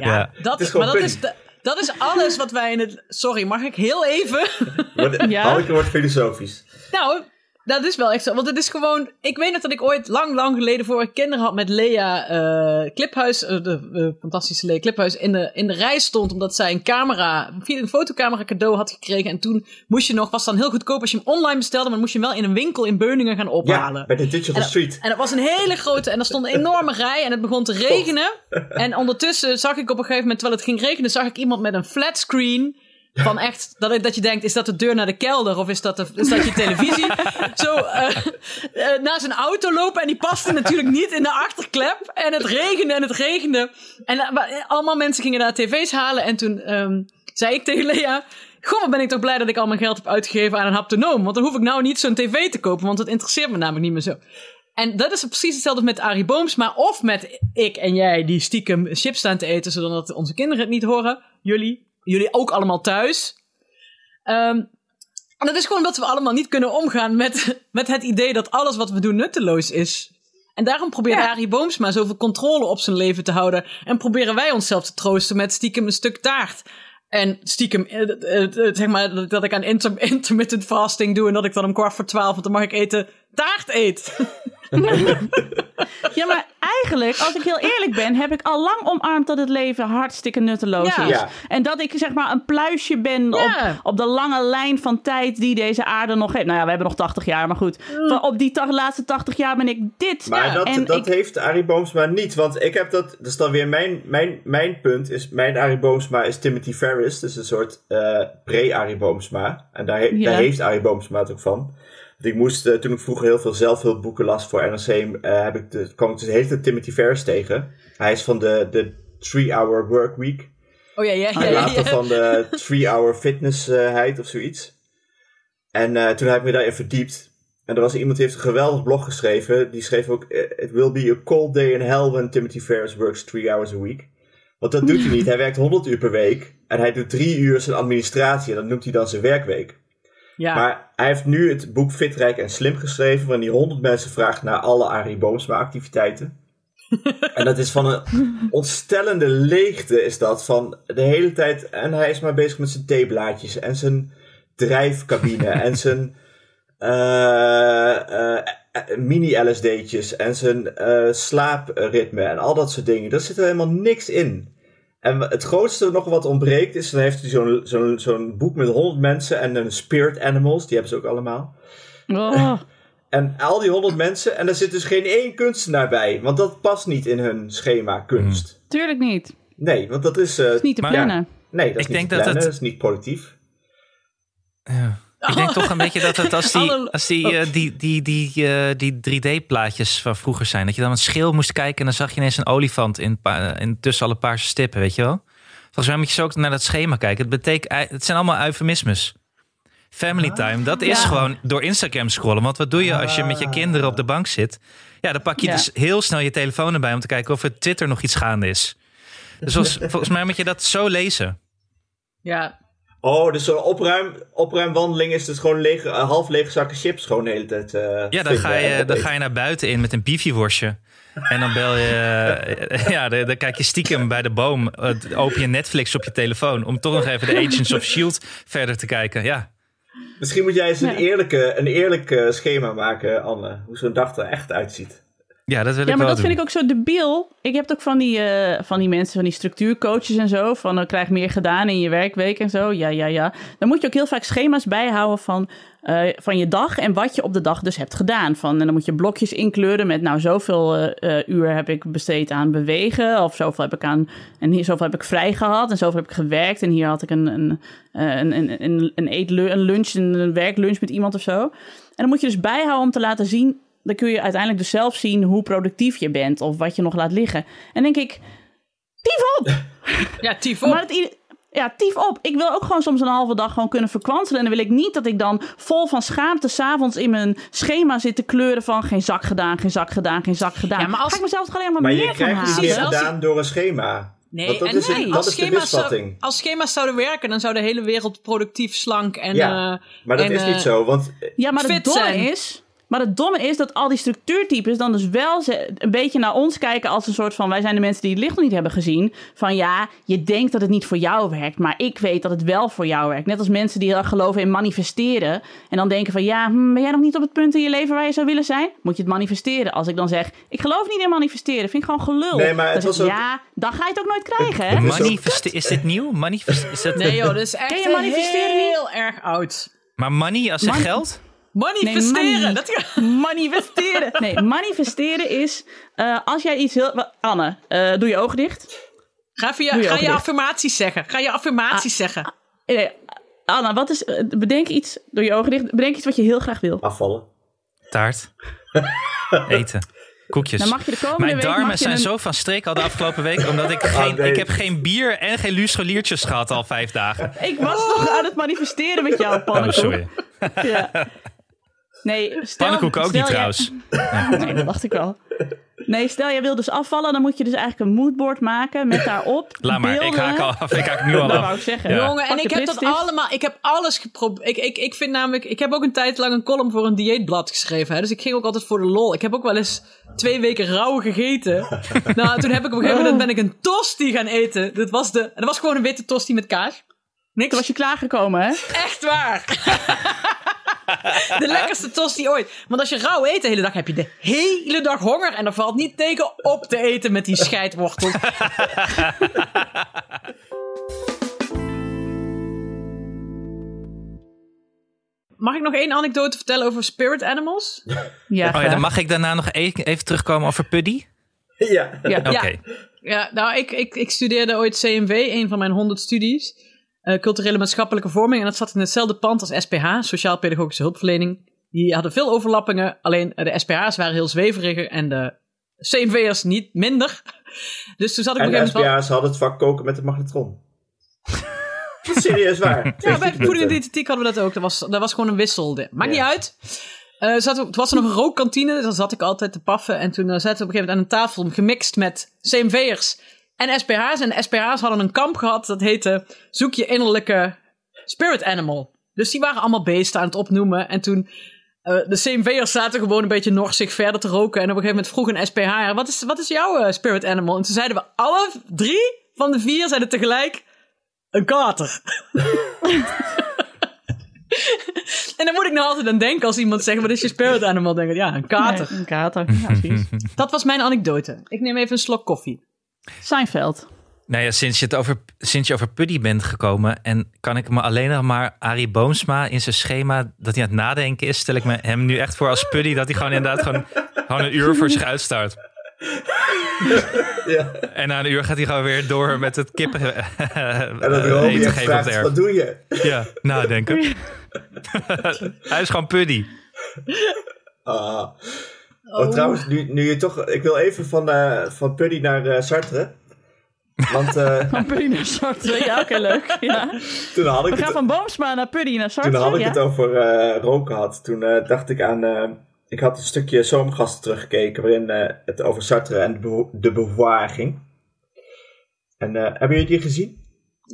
C: Ja.
B: Dat,
D: is gewoon
B: maar dat is,
D: pudding.
B: da- dat is alles wat wij in het... Sorry, mag ik heel even?
D: Wordt-
A: Ja.
D: Hanneke wordt filosofisch.
B: Nou, dat is wel echt zo. Want het is gewoon. Ik weet nog dat ik ooit lang, lang geleden voor ik kinderen had met Lea eh, Cliphuis. eh, de eh, fantastische Lea Cliphuis. In de, in de rij stond. Omdat zij een camera. via Een fotocamera cadeau had gekregen. En toen moest je nog. Was dan heel goedkoop als je hem online bestelde. Maar dan moest je hem wel in een winkel in Beuningen gaan ophalen.
D: Ja, bij de Digital Street.
B: En dat was een hele grote. En er stond een enorme rij. En het begon te regenen. En ondertussen zag ik op een gegeven moment, terwijl het ging regenen, zag ik iemand met een flatscreen. Van echt, dat, dat je denkt, is dat de deur naar de kelder of is dat, de, is dat je televisie? Zo eh, eh, naar zijn auto lopen en die paste natuurlijk niet in de achterklep. En het regende en het regende. En eh, maar, eh, allemaal mensen gingen daar tv's halen. En toen ehm, zei ik tegen Lea, goh, wat ben ik toch blij dat ik al mijn geld heb uitgegeven aan een haptonoom. Want dan hoef ik nou niet zo'n tv te kopen, want dat interesseert me namelijk niet meer zo. En dat is precies hetzelfde met Arie Boomsma of met ik en jij die stiekem chips staan te eten zodat onze kinderen het niet horen. Jullie, jullie ook allemaal thuis. Ehm, en dat is gewoon omdat we allemaal niet kunnen omgaan met, met het idee dat alles wat we doen nutteloos is. En daarom probeert
A: Ja.
B: Arie Boomsma zoveel controle op zijn leven te houden. En proberen wij onszelf te troosten met stiekem een stuk taart. En stiekem, eh, eh, eh, zeg maar, dat- dat ik aan inter- intermittent fasting doe en dat ik dan om kwart voor twaalf, want dan mag ik eten, taart eet.
A: Ja, maar eigenlijk, als ik heel eerlijk ben, heb ik al lang omarmd dat het leven hartstikke nutteloos
B: Ja.
A: is.
D: Ja.
A: En dat ik zeg maar een pluisje ben
B: Ja.
A: op, op de lange lijn van tijd die deze aarde nog heeft. Nou ja, we hebben nog 80 jaar, maar goed.
B: Mm.
A: Van op die ta- laatste 80 jaar ben ik dit.
D: Maar
A: en
D: dat, dat
A: ik,
D: heeft Arie Boomsma niet. Want ik heb dat. Dus dan weer mijn, mijn, mijn punt. Is, mijn Arie Boomsma is Timothy Ferris. Dus een soort eh, pre-Arie Boomsma. En daar, he-
A: Ja.
D: daar heeft Arie Boomsma het ook van. Want ik moest, eh, toen ik vroeger heel veel zelfhulpboeken las voor NRC, eh, heb ik de, kwam ik dus de hele tijd Timothy Ferris tegen. Hij is van de, de Three Hour Work Week.
B: Oh ja, ja, ja.
D: En
B: ja,
D: later van de 3-hour fitnessheid of zoiets. En eh, toen heb ik me daarin verdiept. En er was iemand die heeft een geweldig blog geschreven. Die schreef ook: eh, It will be a cold day in hell when Timothy Ferris works 3 hours a week. Want dat doet hij niet. Hij werkt 100 uur per week. En hij doet 3 uur zijn administratie. En dat noemt hij dan zijn werkweek.
B: Ja.
D: Maar hij heeft nu het boek Fit, Rijk en Slim geschreven. Waarin hij 100 mensen vraagt naar alle Arie Boomsma activiteiten. en dat is van een ontstellende leegte is dat. Van de hele tijd. En hij is maar bezig met zijn theeblaadjes. En zijn drijfcabine. en zijn eh, eh, eh, mini-LSD'tjes. En zijn eh, slaapritme. En al dat soort dingen. Daar zit er helemaal niks in. En het grootste nog wat ontbreekt is, dan heeft hij zo'n zo'n zo'n boek met 100 mensen en een spirit animals, die hebben ze ook allemaal.
A: Oh,
D: En al die 100 mensen, en er zit dus geen één kunstenaar bij, want dat past niet in hun schema kunst.
C: Hmm.
A: tuurlijk niet. Het
D: Nee, want dat is. eh,
A: is niet te
C: Maar-
A: plannen.
D: nee, dat is
C: Ik
D: niet
C: denk
D: te
C: dat
D: plannen, dat,
C: het-
D: is niet productief.
C: Ja. Ik denk toch een beetje dat het als die,
B: Alle-
C: als die, eh, die, die, die, eh, die 3D-plaatjes van vroeger zijn. Dat je dan een schil moest kijken en dan zag je ineens een olifant in, pa- in tussen alle paarse stippen, weet je wel? Volgens mij moet je zo ook naar dat schema kijken. Het, betekent, het zijn allemaal eufemismes. Family time, dat is
A: Ah. Ja. Ah.
C: gewoon door Instagram scrollen. Want wat doe je als je met je kinderen op de bank zit? Ja, dan pak je
A: Ja.
C: dus heel snel je telefoon erbij om te kijken of er Twitter nog iets gaande is. Dus volgens, volgens mij moet je dat zo lezen.
B: ja.
D: Oh, dus zo'n opruim, opruimwandeling is dus gewoon lege, eh, half lege zakken chips gewoon de hele tijd. eh,
C: Ja, dan
D: vinden
C: ga,
D: en
C: je, dan
D: opeten.
C: ga je naar buiten in met een biefieworstje. En dan bel je. Ja, dan, dan kijk je stiekem bij de boom. eh, Open je Netflix op je telefoon. Om toch nog even de Agents of Shield E verder te kijken. Ja,
D: Misschien moet jij eens een,
A: Ja.
D: eerlijke, een eerlijk eh, schema maken, Anne. Hoe zo'n dag er echt uitziet.
C: ja dat wil
A: Ja, maar
C: ik wel
A: dat
C: doen.
A: vind ik ook zo debiel. Ik heb het ook van die, eh, van die mensen, van die structuurcoaches en zo. Van eh, krijg meer gedaan in je werkweek en zo. Ja, ja, ja. Dan moet je ook heel vaak schema's bijhouden van, eh, van je dag en wat je op de dag dus hebt gedaan. Van, en dan moet je blokjes inkleuren met nou zoveel eh, eh, uur heb ik besteed aan bewegen. Of zoveel heb ik aan. En hier zoveel heb ik vrij gehad. En zoveel heb ik gewerkt. En hier had ik een, een, eh, een, een, een, een, eetlu- een lunch, een, een werklunch met iemand of zo. En dan moet je dus bijhouden om te laten zien dan kun je uiteindelijk dus zelf zien hoe productief je bent of wat je nog laat liggen. En denk ik, tief op!
B: Ja, tief
A: Maar
B: op.
A: het, i- ja, tief op. Ik wil ook gewoon soms een halve dag gewoon kunnen verkwanselen. En dan wil ik niet dat ik dan vol van schaamte s'avonds in mijn schema zit te kleuren van geen zak gedaan, geen zak gedaan, geen zak gedaan.
B: Ja, maar als-
A: Ga ik mezelf toch alleen maar,
D: Maar
A: meer
D: je
A: van
D: krijgt het
A: halen?
D: meer
B: Precies, als je-
D: gedaan door een schema. Want dat
B: en
D: is,
A: nee,
D: dat
B: als,
D: is de
B: schema's zou-
D: misvatting.
B: als schema's zouden werken, dan zou de hele wereld productief, slank en...
D: Ja,
B: eh,
D: Maar dat
B: en,
D: is
B: eh,
D: niet zo, want
A: Ja, maar het
B: fit
A: domme
B: zijn.
A: is. Maar het domme is dat al die structuurtypes dan dus wel ze- een beetje naar ons kijken als een soort van wij zijn de mensen die het licht nog niet hebben gezien. Van ja, je denkt dat het niet voor jou werkt, maar ik weet dat het wel voor jou werkt. Net als mensen die heel erg geloven in manifesteren en dan denken van ja, hmm, ben jij nog niet op het punt in je leven waar je zou willen zijn? Moet je het manifesteren? Als ik dan zeg, ik geloof niet in manifesteren, vind ik gewoon gelul.
D: Nee, maar het
A: Dan zeg
D: was
A: ik,
D: ook-
A: ja, dan ga je het ook nooit krijgen. Hè?
C: Manifeste- is dit nieuw? Manifest, is dat,
B: Nee joh, dat is echt
A: Ken je manifesteren niet?
B: heel erg oud.
C: Maar money als in
A: Man-
C: geld?
B: Manifesteren,
A: Nee, mani-
B: dat gaat...
A: Manifesteren. Nee, manifesteren is eh, als jij iets heel. wa- Anne, eh, doe je ogen dicht.
B: Ga, via,
A: Doe je
B: ga
A: ook
B: je
A: dicht.
B: affirmaties zeggen. Ga je affirmaties zeggen.
A: eh, Anna, wat is, eh, bedenk iets, door je ogen dicht, bedenk iets wat je heel graag wil.
D: Afvallen.
C: Taart. Eten. Koekjes.
A: Dan mag je de komende
C: Mijn
A: week...
C: darmen
A: mag je
C: zijn
A: een-
C: zo van streek al de afgelopen week. Omdat ik geen,
D: nee.
C: ik heb geen bier en geen luscholiertjes gehad al vijf dagen.
A: Ik was toch aan het manifesteren met jou,
C: Oh,
A: pannenkoek.
C: sorry.
A: Ja. Nee, stel,
C: Pannenkoek ook
A: stel
C: niet
A: jij-
C: trouwens.
A: Nee, dat dacht ik wel. Nee, stel jij wil dus afvallen, dan moet je dus eigenlijk een moodboard maken met daarop
C: Laat maar, ik
A: beelden.
C: haak al af. Ik haak nu al
A: Dat wou
C: af.
A: ik zeggen.
C: Ja.
B: Jongen, en
A: Pak je
B: ik heb dat
A: lipstift.
B: allemaal, ik heb alles geprobeerd. Ik, ik, ik vind namelijk, ik heb ook een tijd lang een column voor een dieetblad geschreven. Hè, dus ik ging ook altijd voor de lol. Ik heb ook wel eens twee weken rauw gegeten. nou, toen heb ik op een gegeven moment
A: Oh.
B: ben ik een tosti gaan eten. Dat was, de, dat was gewoon een witte tosti met kaas. Niks.
A: Toen was je klaargekomen, hè?
B: Echt waar. de lekkerste tosti ooit. Want als je rauw eet de hele dag, heb je de hele dag honger. En er valt niet tegen op te eten met die scheidwortel. Mag ik nog één anekdote vertellen over spirit animals?
A: Ja,
C: Oh ja, dan
A: graag.
C: mag ik daarna nog e- even terugkomen over Puddy?
D: Ja.
A: ja.
C: Oké.
B: Ja, nou, ik, ik, ik studeerde ooit CMW, een van mijn 100 studies. eh, culturele maatschappelijke vorming. En dat zat in hetzelfde pand als SPH, Sociaal Pedagogische Hulpverlening. Die hadden veel overlappingen, alleen eh, de SPH's waren heel zweveriger en de CMW'ers niet minder. Dus toen zat ik op
D: En
B: een
D: de
B: gegeven moment wel-
D: SPA's hadden het vak koken met de magnetron. Dat is serieus waar.
B: Ja, bij voeding en
D: punten.
B: diëtetiek hadden we dat ook. Dat was, dat was gewoon een wissel. De- Maakt niet uit. Eh zat, het was er nog een rookkantine, dus dan zat ik altijd te paffen. En toen eh, zaten we op een gegeven moment aan een tafel gemixt met CMV'ers en SPH's. En de SPH's hadden een kamp gehad dat heette Zoek je innerlijke spirit animal. Dus die waren allemaal beesten aan het opnoemen. En toen, eh, de CMV'ers zaten gewoon een beetje norsig verder te roken. En op een gegeven moment vroeg een SPH'er, wat is, wat is jouw eh, spirit animal? En toen zeiden we alle drie van de vier zeiden tegelijk, een kater. En dan moet ik nou altijd aan denken als iemand zegt, wat is je spirit animal? Dan denk ik, ja, een kater.
A: Nee, een kater. Ja, precies.
B: Dat was mijn anekdote. Ik neem even een slok koffie.
A: Seinfeld.
C: Nou ja, sinds je, het over, sinds je over Puddy bent gekomen... en kan ik me alleen nog maar Arie Boomsma in zijn schema... dat hij aan het nadenken is, stel ik me hem nu echt voor als Puddy... dat hij gewoon inderdaad gewoon, gewoon een uur voor zich uitstaart.
D: Ja.
C: En na een uur gaat hij gewoon weer door met het kippen
D: En dat
C: eh,
D: Romy
C: eten
D: echt
C: geven op de
D: vraagt,
C: erf.
D: wat doe je?
C: Ja, nadenken. hij is gewoon Puddy.
D: Ah.
B: Oh.
D: Want trouwens, nu, nu je toch... Ik wil even van, eh, van Puddy naar eh, Sartre. Want eh,
A: Van Puddy naar Sartre. Ja, oké, leuk. Ja.
D: toen had
A: We
D: ik
A: gaan
D: het,
A: van Boomsma naar Puddy naar Sartre.
D: toen had ik
A: ja.
D: het over eh, roken had. Toen eh, dacht ik aan... eh, ik had een stukje Zomergasten teruggekeken... waarin eh, het over Sartre en de, beho- de beauvoir ging. En eh, hebben jullie die gezien?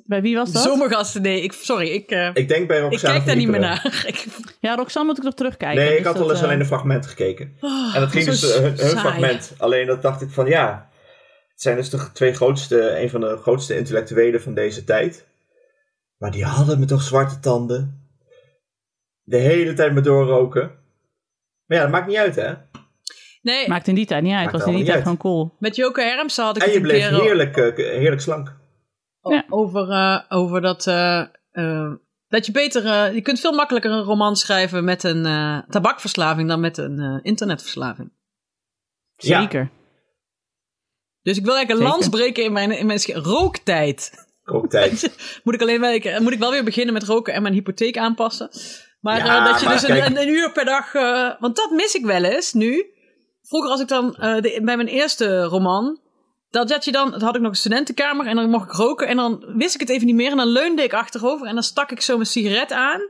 A: Bij wie was dat?
B: Zomergasten, nee. Ik, sorry, ik, eh, ik,
D: Ik denk bij Roxane
B: kijk
D: van
B: daar niet meer
D: Lieperen.
B: naar. Ik,
A: Ja, Roxanne moet ik nog terugkijken.
D: Nee,
A: dus
D: ik had
A: dat,
D: al eens
A: eh,
D: alleen een fragment gekeken. en dat ging
B: Oh, zo
D: dus eh, hun, hun
B: saai.
D: fragment. Alleen dat dacht ik van ja. Het zijn dus de twee grootste, een van de grootste intellectuelen van deze tijd. Maar die hadden me toch zwarte tanden. De hele tijd me doorroken. Maar ja, dat maakt niet uit hè.
B: nee,
A: Maakt in die tijd niet uit.
D: Maakt
A: was in die tijd
D: allemaal
A: gewoon
D: niet
A: cool.
B: met Joke Hermsen had ik
D: En
B: het
D: je
B: een
D: bleef
B: keer
D: heerlijk, eh, heerlijk slank.
B: o-
A: Ja.
B: over, eh, over dat... eh, eh, dat je beter... eh, je kunt veel makkelijker een roman schrijven met een eh, tabakverslaving dan met een eh, internetverslaving.
D: Ja.
A: Zeker.
B: Dus ik wil eigenlijk een
A: Zeker.
B: lans breken in mijn, in mijn sch- rooktijd.
D: Kooktijd.
B: Moet ik, alleen wel, ik- eh, moet ik wel weer beginnen met roken en mijn hypotheek aanpassen. Maar
D: Ja,
B: eh, dat je
D: maar
B: dus een,
D: kijk-
B: een, een uur per dag. eh, want dat mis ik wel eens nu. Vroeger, als ik dan eh, de- bij mijn eerste roman. Dat, dat je dan, dat had ik nog een studentenkamer en dan mocht ik roken. En dan wist ik het even niet meer. En dan leunde ik achterover en dan stak ik zo mijn sigaret aan.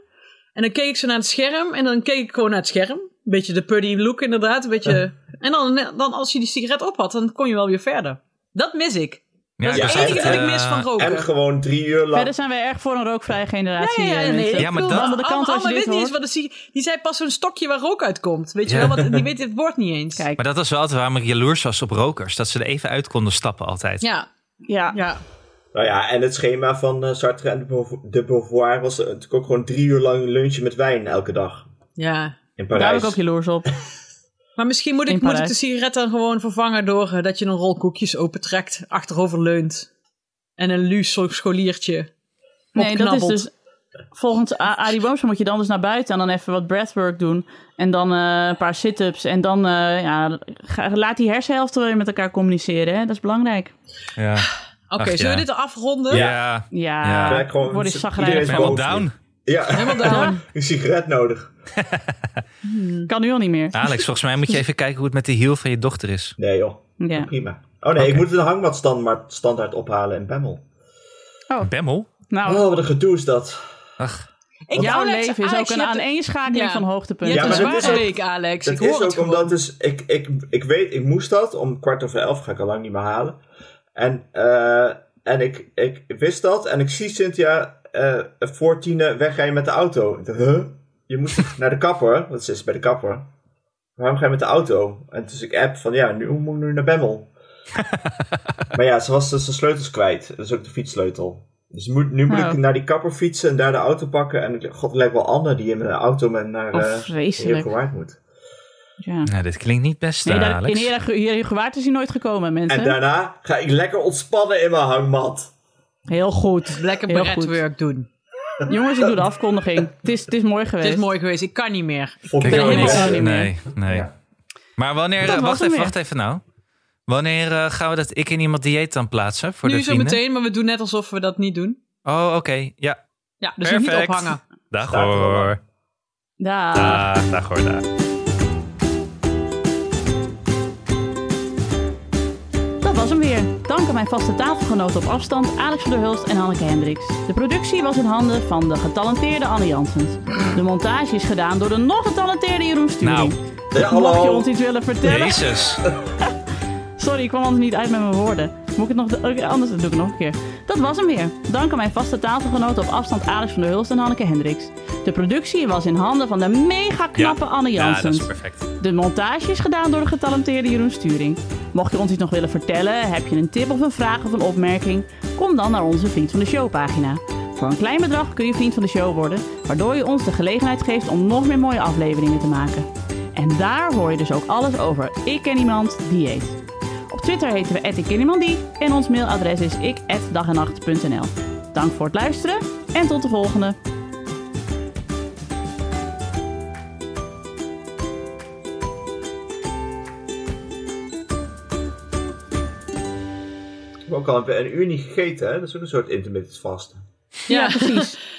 B: En dan keek ik zo naar het scherm. En dan keek ik gewoon naar het scherm. Een beetje de puddy look inderdaad. Een beetje, en dan, dan als je die sigaret op had, dan kon je wel weer verder. Dat mis ik.
C: Ja,
B: Dat is
C: dus
B: het enige
C: echt,
B: dat ik
C: eh,
B: mis van roken.
D: En gewoon drie uur lang.
A: Verder zijn wij erg voor een rookvrije generatie.
B: Ja, ja, ja,
A: eh,
B: nee.
A: mensen.
C: Ja, maar
B: Ik
C: dat-
B: bedoel,
A: Aan de kant
B: Anne-
A: als je
B: Anne
A: dit
B: weet niet eens
A: hoort.
B: wat het zie- Die zei pas zo'n stokje waar rook uitkomt. Weet je
C: Ja.
B: wel, wat, die weet dit woord niet eens.
A: Kijk.
C: Maar dat was wel altijd waarom ik jaloers was op rokers. Dat ze er even uit konden stappen altijd.
B: Ja,
A: Ja.
B: ja.
D: Nou ja, en het schema van eh, Sartre en de Beauv- de Beauvoir was eh, natuurlijk ook gewoon drie uur lang lunchen met wijn elke dag.
B: ja.
D: In Parijs.
A: daar heb ik ook jaloers op.
B: Maar misschien moet
A: In
B: ik, moet ik
A: Parijs.
B: de sigaret dan gewoon vervangen door eh, dat je een rol koekjes opentrekt, achterover leunt en een luus scholiertje.
A: Nee, dat is
B: opknabbelt.
A: dus... Volgens A- Arie Boomsma moet je dan dus naar buiten en dan even wat breathwork doen. En dan eh, een paar sit-ups. En dan eh, ja, ga- laat die hersenhelften weer met elkaar communiceren. Hè? Dat is belangrijk.
C: Ja.
B: Oké,
C: Ach,
B: zullen we
C: ja.
B: dit afronden?
C: Ja,
A: Ja,
C: Ja.
D: Ja, gewoon-
A: word je
C: iedereen is
A: chagrijnig.
D: Iedereen-
C: helemaal
D: boven.
C: down.
D: Ja,
B: Helemaal down.
D: een sigaret nodig.
A: van. Kan nu al niet meer.
C: Alex, volgens mij moet je even kijken hoe het met de hiel van je dochter is.
D: Nee joh,
A: Ja.
D: prima. Oh nee, ik moet een hangmat stand, maar standaard ophalen in Bemmel.
C: Bemmel?
A: Nou,
D: Oh, wat een gedoe is dat.
C: Ach,
B: Ik,
A: jouw
B: Alex,
A: leven is
B: Alex,
A: ook
B: je
A: een
B: hebt-
A: aaneenschakeling
B: Ja.
A: van
B: Je
A: hoogtepunten.
B: hebt
D: Ja,
B: een
D: maar dat
B: zware
D: is ook-
B: week, Alex.
D: Dat
B: ik hoor
D: is
B: het
D: ook
B: gewoon.
D: omdat dus, ik, ik, ik weet, ik moest dat om kwart over elf, ga ik al lang niet meer halen. En, eh, en ik, ik wist dat en ik zie Cynthia eh voor tienen wegrijden met de auto. Ik dacht, huh? Je moest naar de kapper, want ze is bij de kapper. Waarom ga je met de auto? En dus ik app van, ja, nu hoe moet ik nu naar Bemmel. maar ja, ze was dus de sleutels kwijt. Dat is ook de fietssleutel. Dus moet, nu moet
A: Oh.
D: ik naar die kapper fietsen en daar de auto pakken. En ik god, het lijkt wel Anne die in een auto met naar
A: Oh,
D: eh
A: vreselijk.
D: Heergewaard moet.
A: Ja.
C: nou, dit klinkt niet best,
A: Nee,
C: eh,
A: daar, in
C: Alex.
A: Heerlijk- hier hier gewaard is hij nooit gekomen,
D: En
A: mensen.
D: daarna ga ik lekker ontspannen in mijn hangmat.
A: Heel goed.
B: Lekker
A: Heel
B: breadwork doen.
A: Jongens, ik doe de afkondiging. Het is, het is mooi
B: Het
A: geweest.
B: is mooi geweest. Ik kan niet meer.
D: Vond
C: Ik
A: ben
C: ook
A: helemaal
C: niet.
A: zo niet meer.
C: Nee, nee.
D: Ja.
C: Maar wanneer,
A: Dat
C: eh,
A: was
C: wacht
A: hem
C: even,
A: weer.
C: wacht even nou. Wanneer eh, gaan we dat ik en iemand dieet dan plaatsen voor
B: nu
C: de
B: zo
C: vrienden?
B: meteen, maar we doen net alsof we dat niet doen.
C: Oh, oké. Ja,
B: Ja, dus nog niet
C: perfect.
B: ophangen.
C: Dag
D: Staat er wel
C: hoor.
A: Daag.
C: Dag, dag hoor, dag.
A: Dat was hem weer. Dank aan mijn vaste tafelgenoten op afstand, Alex van der Hulst en Hanneke Hendricks. De productie was in handen van de getalenteerde Anne Janssens. De montage is gedaan door de nog getalenteerde Jeroen Sturing. Dus
C: Nou.
D: Ja,
A: Mocht je
D: hallo.
A: ons iets willen vertellen...
C: Jezus.
A: Sorry, ik kwam anders niet uit met mijn woorden. Moet ik het nog... oké, anders doe ik het nog een keer. Dat was hem weer. Dank aan mijn vaste tafelgenoten op afstand Alex van der Hulst en Hanneke Hendricks. De productie was in handen van de mega knappe Anne
C: Ja, dat
A: Janssens.
C: is perfect.
A: De montage is gedaan door de getalenteerde Jeroen Sturing. Mocht je ons iets nog willen vertellen, heb je een tip of een vraag of een opmerking, kom dan naar onze Vriend van de Show pagina. Voor een klein bedrag kun je Vriend van de Show worden, waardoor je ons de gelegenheid geeft om nog meer mooie afleveringen te maken. En daar hoor je dus ook alles over Ik Ken Iemand Dieet. Op Twitter heten we @ikkenniemandie en ons mailadres is ik@dagenacht.nl. Dank voor het luisteren en tot de volgende.
D: Ik heb ook al een, een uur niet gegeten, hè? Dat is ook een soort intermittent vasten.
A: Ja, precies.